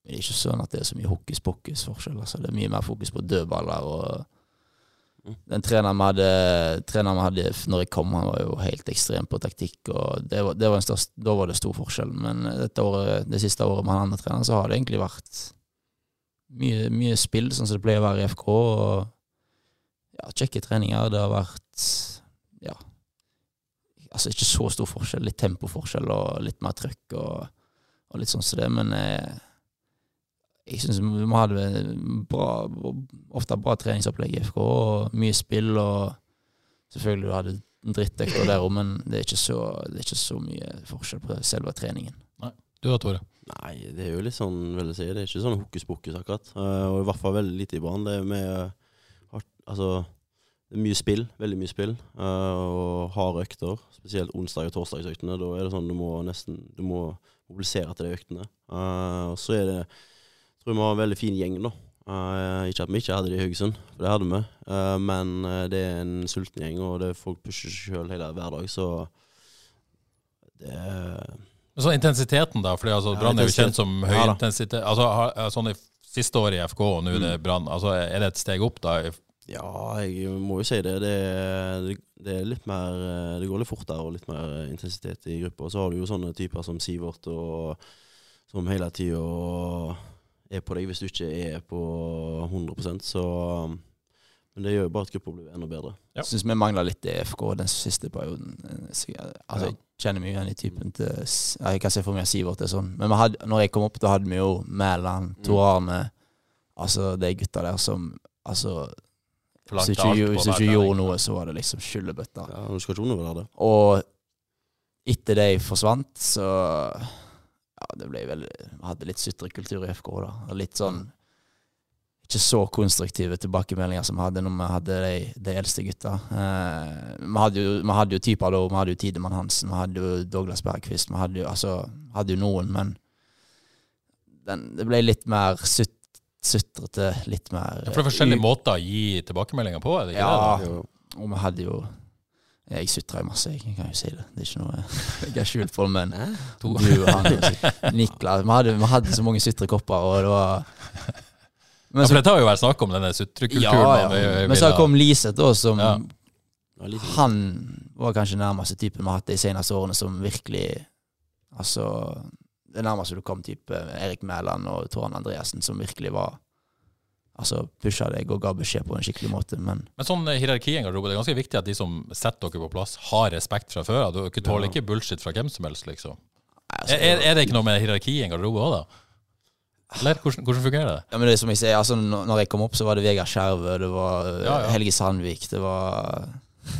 Det er ikke sånn at det er så mye hokus pokus-forskjell. Altså. Det er mye mer fokus på dødballer. Og den treneren vi hadde, treneren vi hadde f- når jeg kom, han var jo helt ekstrem på taktikk. Og det var, det var en størst, da var det stor forskjell. Men dette året, det siste året med han andre treneren så har det egentlig vært mye, mye spill, sånn som det pleier å være i FK. Og ja, kjekke treninger. Det har vært ja, altså ikke så stor forskjell. Litt tempoforskjell og litt mer trøkk og, og litt sånn som det, men eh, jeg syns vi hadde en bra, ofte bra treningsopplegg i FK, og mye spill og Selvfølgelig du hadde en drittøkt der òg, men det er, ikke så, det er ikke så mye forskjell på selve treningen. Du da, Tore? Nei, det er jo litt sånn, vil jeg si. Det er ikke sånn hokus pokus, akkurat. Eh, og i hvert fall veldig lite i banen. Det er med eh, hardt- Altså, det er mye spill. Veldig mye spill. eh, og harde økter. Spesielt onsdag- og torsdagsøktene. Da er det sånn du må nesten Du må mobilisere til de øktene. Eh, og så er det Tror vi har en veldig fin gjeng, da. Eh, ikke at vi ikke hadde det i Haugesund, for det hadde vi. Eh, men eh, det er en sulten gjeng, og det er folk pusher seg sjøl hele hver dag, så det er Men så intensiteten, da. fordi altså, Ja, Brann er jo intensitet. kjent som høy Ja, da. intensitet. Altså, har, sånn i f- Siste året i FK, og nå er Mm. det Brann. Altså, er det et steg opp, da? i- Ja, jeg må jo si det. Det, det, det er litt mer eh, Det går litt fortere og litt mer eh, intensitet i gruppa. Og så har du jo sånne typer som Sivert, og, som hele tida er på deg hvis du ikke er på 100 så Men det gjør jo bare at gruppa blir enda bedre. Ja. Jeg Syns vi mangler litt i FK den siste perioden. Så jeg- Altså, jeg kjenner meg igjen i typen til S- Jeg kan se for meg at Sivert er sånn. Men vi hadde, når jeg kom opp, da hadde vi jo Mæland, Mm. Tor Arne Altså de gutta der som Altså, hvis Forlangte du ikke, alt gjorde- på hvis du hver ikke gjorde trening. noe, så var det liksom skyllebøtta. Ja, og Du skal ikke undervurdere det. Og etter de forsvant, så Ja, det ble vel Hadde litt sutrekultur i FK, da. Og litt sånn Ikke så konstruktive tilbakemeldinger som vi hadde når vi hadde de, de eldste gutta. Eh, vi, hadde jo, vi hadde jo typer da, vi hadde jo Tidemann Hansen, vi hadde jo Douglas Bergqvist, vi hadde jo, altså, hadde jo noen, men den, det ble litt mer sut, sutrete, litt mer Ja, For det er eh, forskjellige måter å gi tilbakemeldinger på, er det ikke Ja. det? da? og vi hadde jo Jeg sutra jo masse, jeg jeg kan jo si det. Det er ikke noe jeg har skjult for, men du og han og Niklas Vi hadde, vi hadde så mange sutrekopper, og det var Ja, Men Altså, for så, det har jo vært snakk om denne sutrekulturen. ja, ja. Men så kom Liseth, da, som Ja. Ja, litt- Han var kanskje nærmeste typen vi har hatt de seneste årene som virkelig Altså Det nærmeste du kom type Erik Mæland og Toran Andreassen, som virkelig var Altså pusha deg og ga beskjed på en skikkelig måte, men Men sånn eh, hierarki i en garderobe, det er ganske viktig at de som setter dere på plass, har respekt fra før. av. Dere tåler ikke bullshit fra hvem som helst, liksom. altså, Er, er- er det ikke noe med hierarki i en garderobe òg, da? Eller hvordan, hvordan fungerer det? Ja, men det er som jeg sier, altså når når jeg kom opp, så var det Vegard Skjervø, det var eh, Ja, ja. Helge Sandvik, det var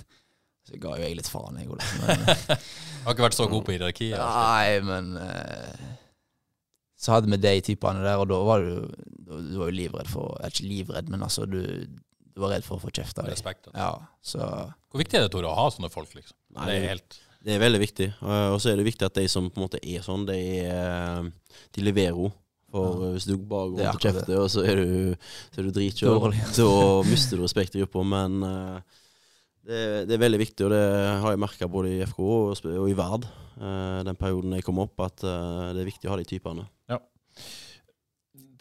Så ga jo jeg litt faen, jeg òg, men eh, Jeg har ikke vært så god på hierarki. jeg. Nei, men eh, Så hadde vi de typene der, og da var du Du var jo livredd for eller Ikke livredd, men altså, du, du var redd for å få kjeft av dem. Respekt. altså. Ja, så Hvor viktig er det, Tore, å ha sånne folk, liksom? Nei, det det- er helt Det er veldig viktig. eh, Og så er det viktig at de som på en måte er sånn, de, er, de leverer henne. For eh, hvis du bare går Det er rundt og akkurat kjefter, det. og så er du, så er du dritkjør, Dårlig. så mister du respekt i gruppa. Men eh, det, det er veldig viktig, og det har jeg merka både i FK og, sp- og i Verd, eh, den perioden jeg kom opp, at eh, det er viktig å ha de typene.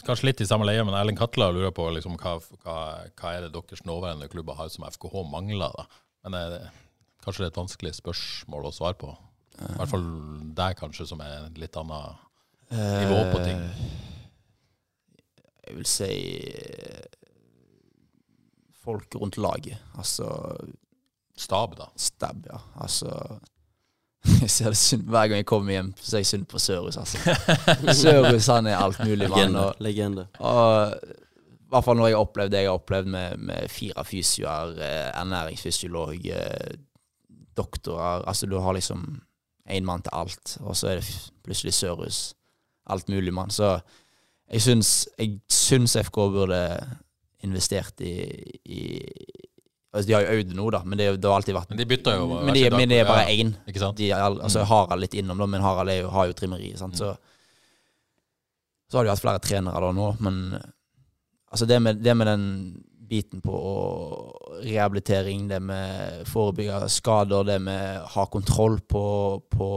Kanskje litt i samme leie, men Erling Katla lurer på liksom, hva, hva, hva er det deres nåværende klubber har som FKH mangler? da? Men er det, kanskje det er et vanskelig spørsmål å svare på. I hvert fall deg, kanskje, som er en litt annen Nivå på ting. eh, Jeg vil si eh, folk rundt laget. Altså stab, da. Stab, ja. Altså jeg ser det synd. Hver gang jeg kommer hjem, så er jeg synd på Sørhus. Altså. Sørhus han er alt mulig mann. Legende. Og, legende. og i hvert fall når jeg har opplevd det jeg har opplevd med, med fire fysioer, eh, ernæringsfysiolog, eh, doktorer Altså du har liksom én mann til alt, og så er det f- plutselig Sørhus. Alt mulig mann. Så jeg syns, jeg syns FK burde investert i, i Altså de har jo Aud nå, da, men det, er jo- det har alltid vært Men de bytter jo hver men de, sin dag. men det er bare Ja, én. Ikke sant? De er all- altså, Harald litt innom, da, men Harald er jo, har jo trimmeri. Sant? Så, så har de hatt flere trenere da nå, men altså, det, med, det med den biten på å- rehabilitering, det med forebygge skader, det med ha kontroll på, på,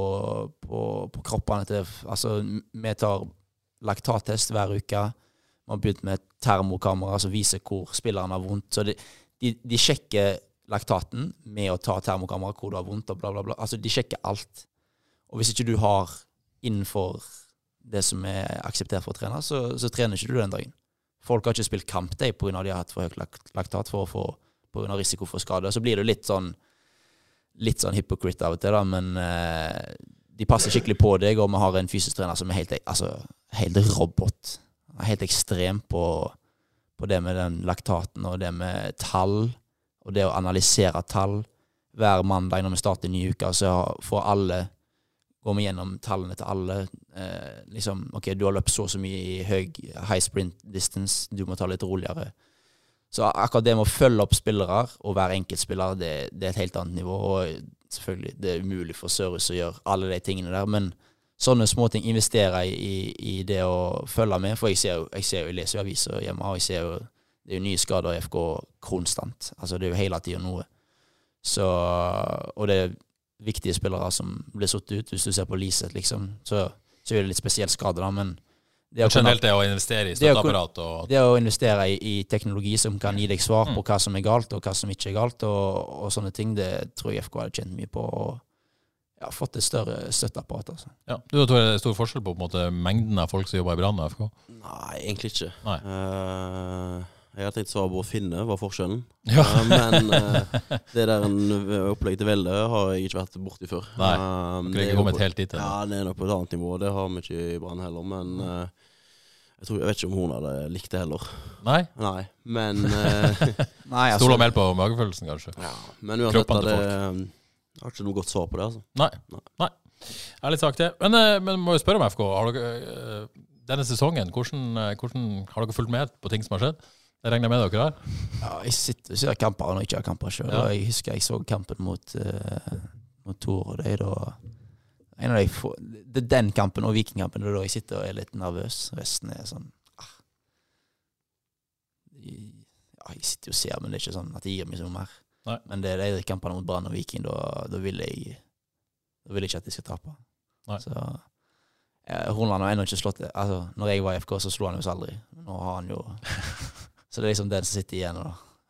på, på kroppene til Altså, vi tar laktattest hver uke. Vi har begynt med et termokamera som viser hvor spilleren har vondt. Så de, de, de sjekker laktaten med å ta termokamera hvor du har vondt, og bla, bla, bla. Altså, de sjekker alt. Og hvis ikke du har innenfor det som er akseptert for å trene, så, så trener ikke du den dagen. Folk har ikke spilt kamp de pga. de har hatt for høyt lak- laktat for å få pga. risiko for skade. Så blir du litt sånn litt sånn hypocrite av og til, da, men eh, de passer skikkelig på deg, og vi har en fysisk trener som er helt, altså, helt robot. Han er Helt ekstrem på, på det med den laktaten og det med tall, og det å analysere tall. hver mandag når vi starter en ny uke, så får alle Går vi gjennom tallene til alle. Eh, liksom, OK, du har løpt så og så mye i høy high sprint distance, du må ta litt roligere. Så akkurat det med å følge opp spillere og hver enkeltspiller, det, det er et helt annet nivå. Og selvfølgelig, det er umulig for Sørhus å gjøre alle de tingene der, men sånne småting investerer jeg i, i det å følge med. For jeg ser jo, jeg, ser jo, jeg leser jo aviser hjemme, og jeg ser jo det er jo nye skader i FK konstant. Altså det er jo hele tida noe. Så, og det er viktige spillere som blir satt ut. Hvis du ser på Liseth, liksom, så, så er det litt spesiell skade, da, men det å kunne- Generelt det å investere i Det å kunne- støtteapparat og det å investere i, i teknologi som kan gi deg svar Mm. på hva som er galt, og hva som ikke er galt, og, og sånne ting, det tror jeg FK hadde tjent mye på. Og ja, fått et større støtteapparat. Altså. ja. Du tror det er stor forskjell på, på en måte, mengden av folk som jobber i Brann og FK? Nei, egentlig ikke. Nei. Eh, jeg har tenkt svare på å finne hva forskjellen Ja. Eh, men eh, det der en eh, opplegg til Velle har jeg ikke vært borti før. Nei, Eh, Kunne det er ikke jo kommet på- helt dit ennå. Ja, det er nok på et annet nivå. Det har vi ikke i Brann heller, men eh, jeg, tror, jeg vet ikke om hun hadde likt det heller. Nei? Nei, men eh, Nei, Stol og meld på magefølelsen, kanskje? ja, Men uansett, Kroppen da, til det, eh, jeg har ikke noe godt svar på det, altså. Nei. Nei. Jeg er litt sakte. Men, eh, men må jo spørre om FK. Har dere, eh, denne sesongen, hvordan, eh, hvordan har dere fulgt med på ting som har skjedd? Det regner jeg med dere har. Ja, jeg sitter og ser kamper når jeg ikke har kamper sjøl. Ja. Jeg husker jeg så kampen mot, eh, mot Tor og deg. da- En av de få, det er den kampen og Vikingkampen det er da jeg sitter og er litt nervøs. Resten er sånn ah. ja, Jeg sitter jo og ser, men det er ikke sånn at det gir meg så mye mer. Nei. Men det er de kampene mot Brann og Viking, da, da vil jeg Da vil jeg ikke at de skal tape. Nei. Så eh, Hornland har ennå ikke slått det. Altså, når jeg var i FK, så slo han oss aldri. Nå har han jo Så det er liksom den som sitter igjen. da.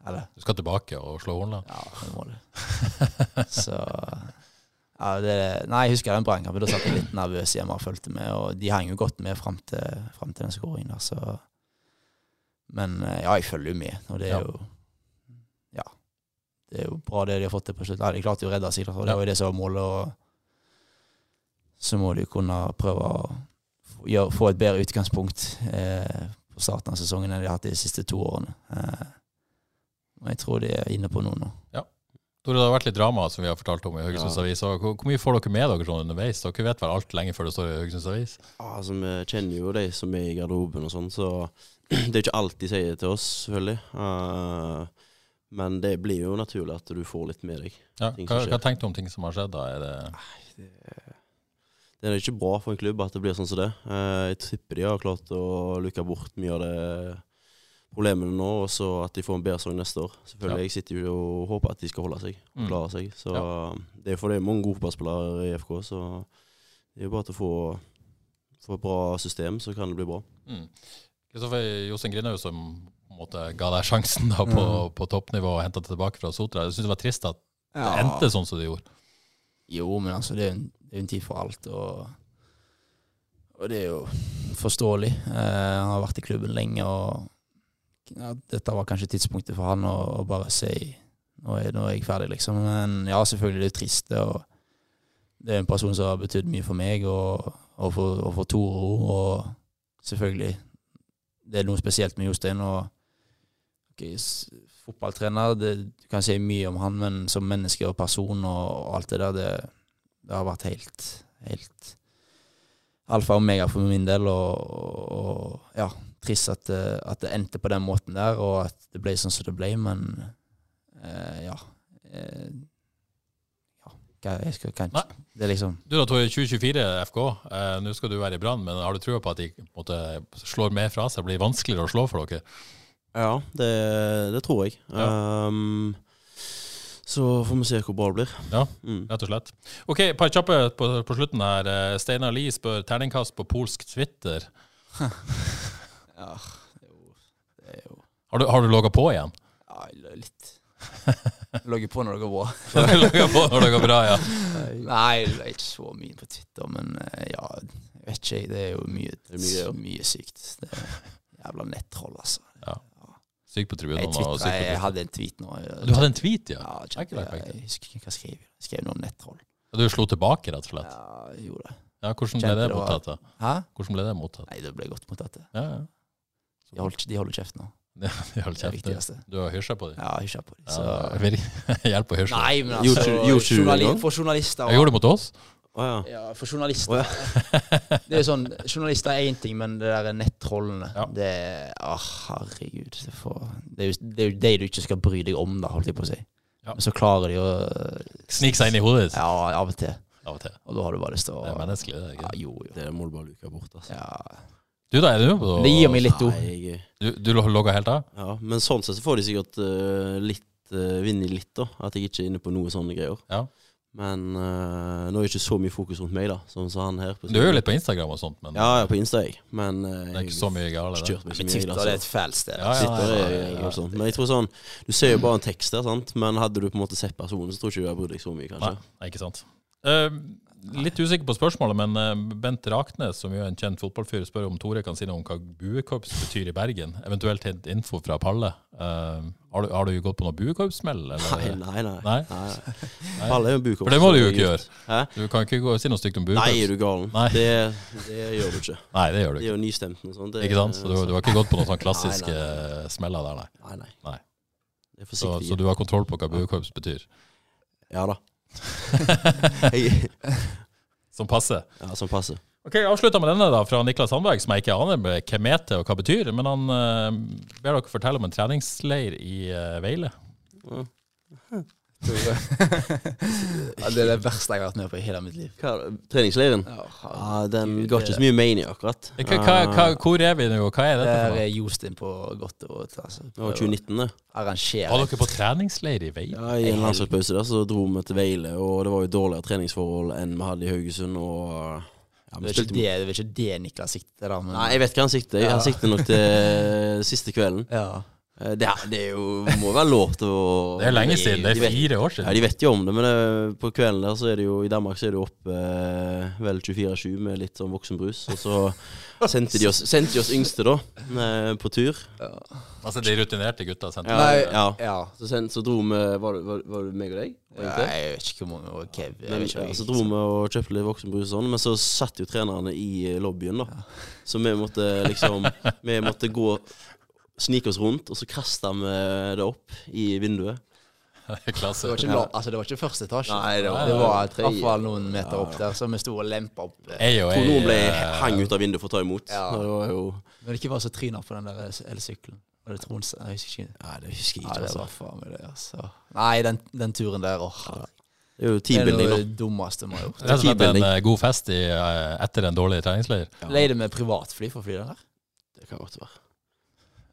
Eller Du skal tilbake og slå Hornland. ja, det må du. Så ja, det, Nei, jeg husker den brannkampen. Da satt jeg litt nervøs hjemme og fulgte med, og de hang jo godt med fram til, frem til den skåringen der, så Men eh, ja, jeg følger jo med, og det er Ja. jo Ja. Det er jo bra det de har fått til på slutt. Ja, de klarte jo å redde seg, og det var jo det som var målet, og så må de jo kunne prøve å få- gjøre- få et bedre utgangspunkt eh, på starten av sesongen enn de har hatt de siste to årene. Eh, og jeg tror de er inne på noe nå. Tore, det har vært litt drama som vi har fortalt om i Haugesunds Ja. Avis. og Hvor, hvor mye får dere med dere sånn underveis? Dere vet vel alt lenge før det står i Haugesunds Avis? Ja, altså, Vi kjenner jo de som er i garderoben og sånn, så det er ikke alt de sier til oss, selvfølgelig. Eh, men det blir jo naturlig at du får litt med deg. Ja. Ting Hva, som skjer. hva tenkte du om ting som har skjedd? da? Er det, Det er jo ikke bra for en klubb at det blir sånn som det. Eh, jeg tipper de har klart å luke bort mye av det problemene nå, og så at de får en bedre sesong neste år. Selvfølgelig, Ja. Jeg sitter jo og håper at de skal holde seg og Mm. klare seg. Så Det er jo for det er mange gode fotballspillere i FK, så det er jo bare til å få, få et bra system, så kan det bli bra. mm. Kristoffer Jostein Grindhaug som på en måte, ga deg sjansen da, på, Mm. på toppnivå og henta tilbake fra Sotra. Jeg syns det var trist at det endte sånn som det gjorde. Jo, men altså, det er jo en, det er jo en tid for alt, og, og det er jo forståelig. Eh, han har vært i klubben lenge, og ja, dette var kanskje tidspunktet for han å, å bare si nå er, nå er jeg ferdig, liksom. Men ja, selvfølgelig, det er trist. det, Og det er en person som har betydd mye for meg, og, og, for, og for Toro, og selvfølgelig Det er noe spesielt med Jostein. og ok, s- Fotballtrener, det, du kan si mye om han, men som menneske og person og, og alt det der, det, det har vært helt, helt alfa og omega for min del. Og, og ja, trist at det, at det endte på den måten der, og at det ble sånn som det ble, men eh, ja. Eh, ja, hva- jeg skal kanskje Nei. Det er liksom Du da, Tore, 2024 FK. Eh, Nå skal du være i Brann, men har du trua på at de på en måte, slår mer fra seg? Blir vanskeligere å slå for dere? Ja, det, det tror jeg. Ehm, så får vi se hvor bra det blir. Ja. Mm. Rett og slett. Ok, et par kjappe på, på slutten her. Eh, Steinar Lie spør terningkast på polsk Twitter. Ja, det er jo, det er jo Har du, har du logga på igjen? ja, litt Logger på når det går bra. Har du logget på når det går bra, ja. Nei, det er ikke så mye på Twitter, men eh, ja, jeg vet ikke. jeg. Det er jo mye, er mye, ja. mye sykt. Det er jævla nettroll, altså. Syk på Jeg, tribunene og twitteret- syk på jeg Twitter. hadde en tweet nå. jeg- Du hadde en tweet, ja? Ja, Jeg har ikke jeg, lagt merke til. jeg husker ikke hva jeg skrev. Jeg skrev noe om nettroll. Du slo tilbake, rett og slett? Ja, jeg gjorde det. Ja, Hvordan ble Kjente det det var- mottatt? da? Hæ? Hvordan ble det mottatt? Nei, det ble godt mottatt, det. Ja, ja. De holder, de holder kjeft nå. Hold Det er det kjeft. viktigste. Du har hysja på dem. Ja, hysja på dem. Så Ja, vir- Hjelp å hysje. Nei, men altså Gjorde du- gjorde du det journali nå? For journalister Jeg gjorde det mot oss. Å ja. ja, for journalister Det er jo sånn, Journalister er én ting, men det der nettrollene Ja. Det er Åh, herregud. Det, får, det, er jo, det er jo de du ikke skal bry deg om, da, holdt jeg på å si. Ja. Men så klarer de å Snik seg inn i hodet ditt. Ja, av og til. Av og til. Og da har du bare lyst til å Det er menneskelig. Det er Ja, greit. jo, jo. Det må du bare luke bort, altså. Ja. Du, da er du på Det gir meg litt ro. Nei, jeg, Du, du logga helt av? ja. Men sånn sett så får de sikkert eh, litt uh, vinne litt, da. At jeg ikke er inne på noe sånne greier. Ja. Men eh, nå er det ikke så mye fokus rundt meg, da, sånn som han her. På Du er jo litt på Instagram og sånt, men Ja, jeg er på Insta, jeg. Men eh, det er ikke så mye gale. jeg Det. kjørte meg så Men mye. jeg, Twitter altså. det er et fælt sted. Ja, ja, Twitter ja, er ja, ja. og sånt. Men jeg tror sånn Du ser jo bare en tekst der, sant. Men hadde du på en måte sett personen, så tror ikke du jeg brydde deg så mye, kanskje. Nei, nei, ikke sant. Eh, litt usikker på spørsmålet, men eh, Bent Raknes, som jo er en kjent fotballfyr, spør om Tore kan si noe om hva buekorps betyr i Bergen. Eventuelt hent info fra Palle. Eh, har, du, har du gått på noe buekorpssmell? Nei, eller? nei, nei. Nei? nei. Palle er jo en bukopp. For det må du jo ikke gjøre. Hæ? Du kan ikke gå, si noe stygt om Nei, buekorps. er du galen? Nei. Det, det gjør du ikke. Nei, det gjør du Det ikke. er jo nystemt og sånt. Det- Ikke sant? Så du, du har ikke gått på noen sånne klassiske eh, Nei, nei, nei, nei. smeller der, nei. Nei, nei. Nei. Det er Så, forsiktig. så du har kontroll på hva buekorps betyr. Ja da. Jeg- Som passer. ja, som passer. Ok, Jeg avslutter med denne da, fra Niklas Sandberg, som jeg ikke aner med hvem er til og hva betyr. Men han eh, ber dere fortelle om en treningsleir i eh, Veile. Ja, det er det verste jeg har vært med på i hele mitt liv. Hva, treningsleiren? Ja, Ja, herregud, den ga ikke det- så mye mening, akkurat. Hva, hva, hva, hvor er vi nå, og hva er Det dette her for noe? er Jostein på godt og vondt. Altså. Det var 2019, det. Arrangere. Var dere på treningsleir i Veile? Ja, I en landslagspause der så dro vi til Veile, og det var jo dårligere treningsforhold enn vi hadde i Haugesund. Og ja, vi Det er ikke spilte det, det er ikke det Niklas sikter da, men Nei, jeg vet hva han sikter. Ja. Han sikter nok til eh, siste kvelden. ja. Eh, Det, er- det er jo, må være lov til å Det er lenge siden. Det De er vet- fire år Ja, siden. De vet jo om det, men eh, på kvelden der så er det jo I Danmark så er det jo oppe eh, vel 24-7 med litt sånn voksenbrus. Og så sendte de oss, sendte de oss yngste, da, eh, på tur. Altså, De rutinerte gutta. sendte Ja, meg. ja. ja. Så, send, så dro vi Var det, var, var det meg og deg? Var det Ja, ikke det? jeg vet ikke hvor mange og Kev Men, altså, jeg vet ikke, ja, jeg- så dro vi og kjøpte litt voksenbrus og sånn, men så satt jo trenerne i eh, lobbyen, da. Så vi måtte liksom Vi måtte gå Snike oss rundt, og så kasta vi det opp i vinduet. Det var Klasse. ikke, la- altså, det var ikke første etasje. Nei, det var- det var i tredje. hvert fall noen meter opp der, så vi sto og lempa opp. eh. Jeg og Og noen ble jeg eh, hang ut av vinduet for å ta imot. Ja. Det var jo Når det ikke var så tryner på den der eh, elsykkelen. Var det Trond som- Jeg husker ikke. Nei, det husker jeg Ja, ikke, det altså. var faen meg det, altså. Nei, den, den turen der, åh. Det er jo Det er noe teambuilding, av da. det dummeste vi har gjort. rett og slett en Tidbending. eh, god fest i, eh, etter en dårlig treningsleir. Leide med privatfly for å fly den der? Det kan godt være.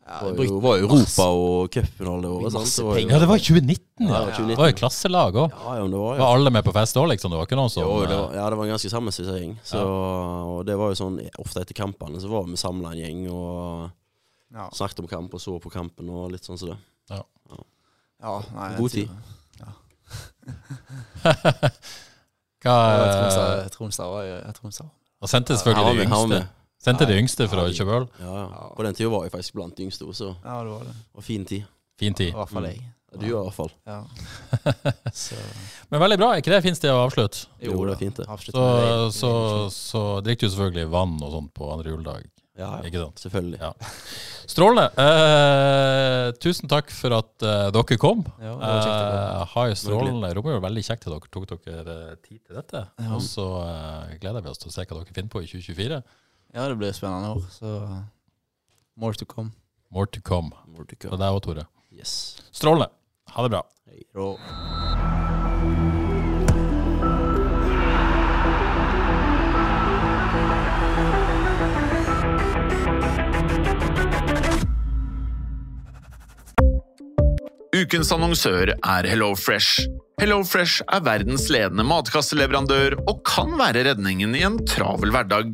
Ja, Det var brukte jo, var jo masse- Europa og cupen og det året. sant? Masse Det var jo- penger. Ja, det var i 2019, ja. Ja, det var Det 2019. var jo klasselag òg. Ja, ja, men det var jo Var alle med på fest òg, liksom? Det var ikke noen som jo, det eh, var, ja, det var en ganske sammenstilt gjeng. Så, og det var jo sånn, Ofte etter kampene så var vi samla en gjeng og Ja. snakket om kamp og så på kampen og litt sånn som det. Ja, nei, den God turen. tid. Ja, Hva, Tromsø- Tromsø var jo ja, Tromsø. Og sendte Han var selvfølgelig de med, han var yngste. med. Sendte de yngste for å Ja, de- kjøpe øl. Ja, ja. På den tida var jeg faktisk blant de yngste også, så Ja, det var det. og fin tid. Fin I tid. hvert fall jeg. Mm. Du i hvert fall. Ja. Så, Men veldig bra. Er ikke det fint sted å avslutte? Jo, det er fint, det. Avslutt Så, med det. så, så drikker du selvfølgelig vann og sånt på andre juledag. Ja, ja. Ikke sant? Selvfølgelig. Ja. Strålende. Eh, tusen takk for at eh, dere kom. Ja, det var kjekt å Eh, ha en strålende romjul. Veldig kjekt at dere tok dere eh, tid til dette. Og så eh, gleder vi oss til å se hva dere finner på i 2024. Ja, det blir spennende år, så more to come. More to come. More to Fra come. deg òg, Tore. Yes. Strålende. Ha det bra. Rå. Ukens annonsør er HelloFresh. HelloFresh er verdens ledende matkasseleverandør og kan være redningen i en travel hverdag.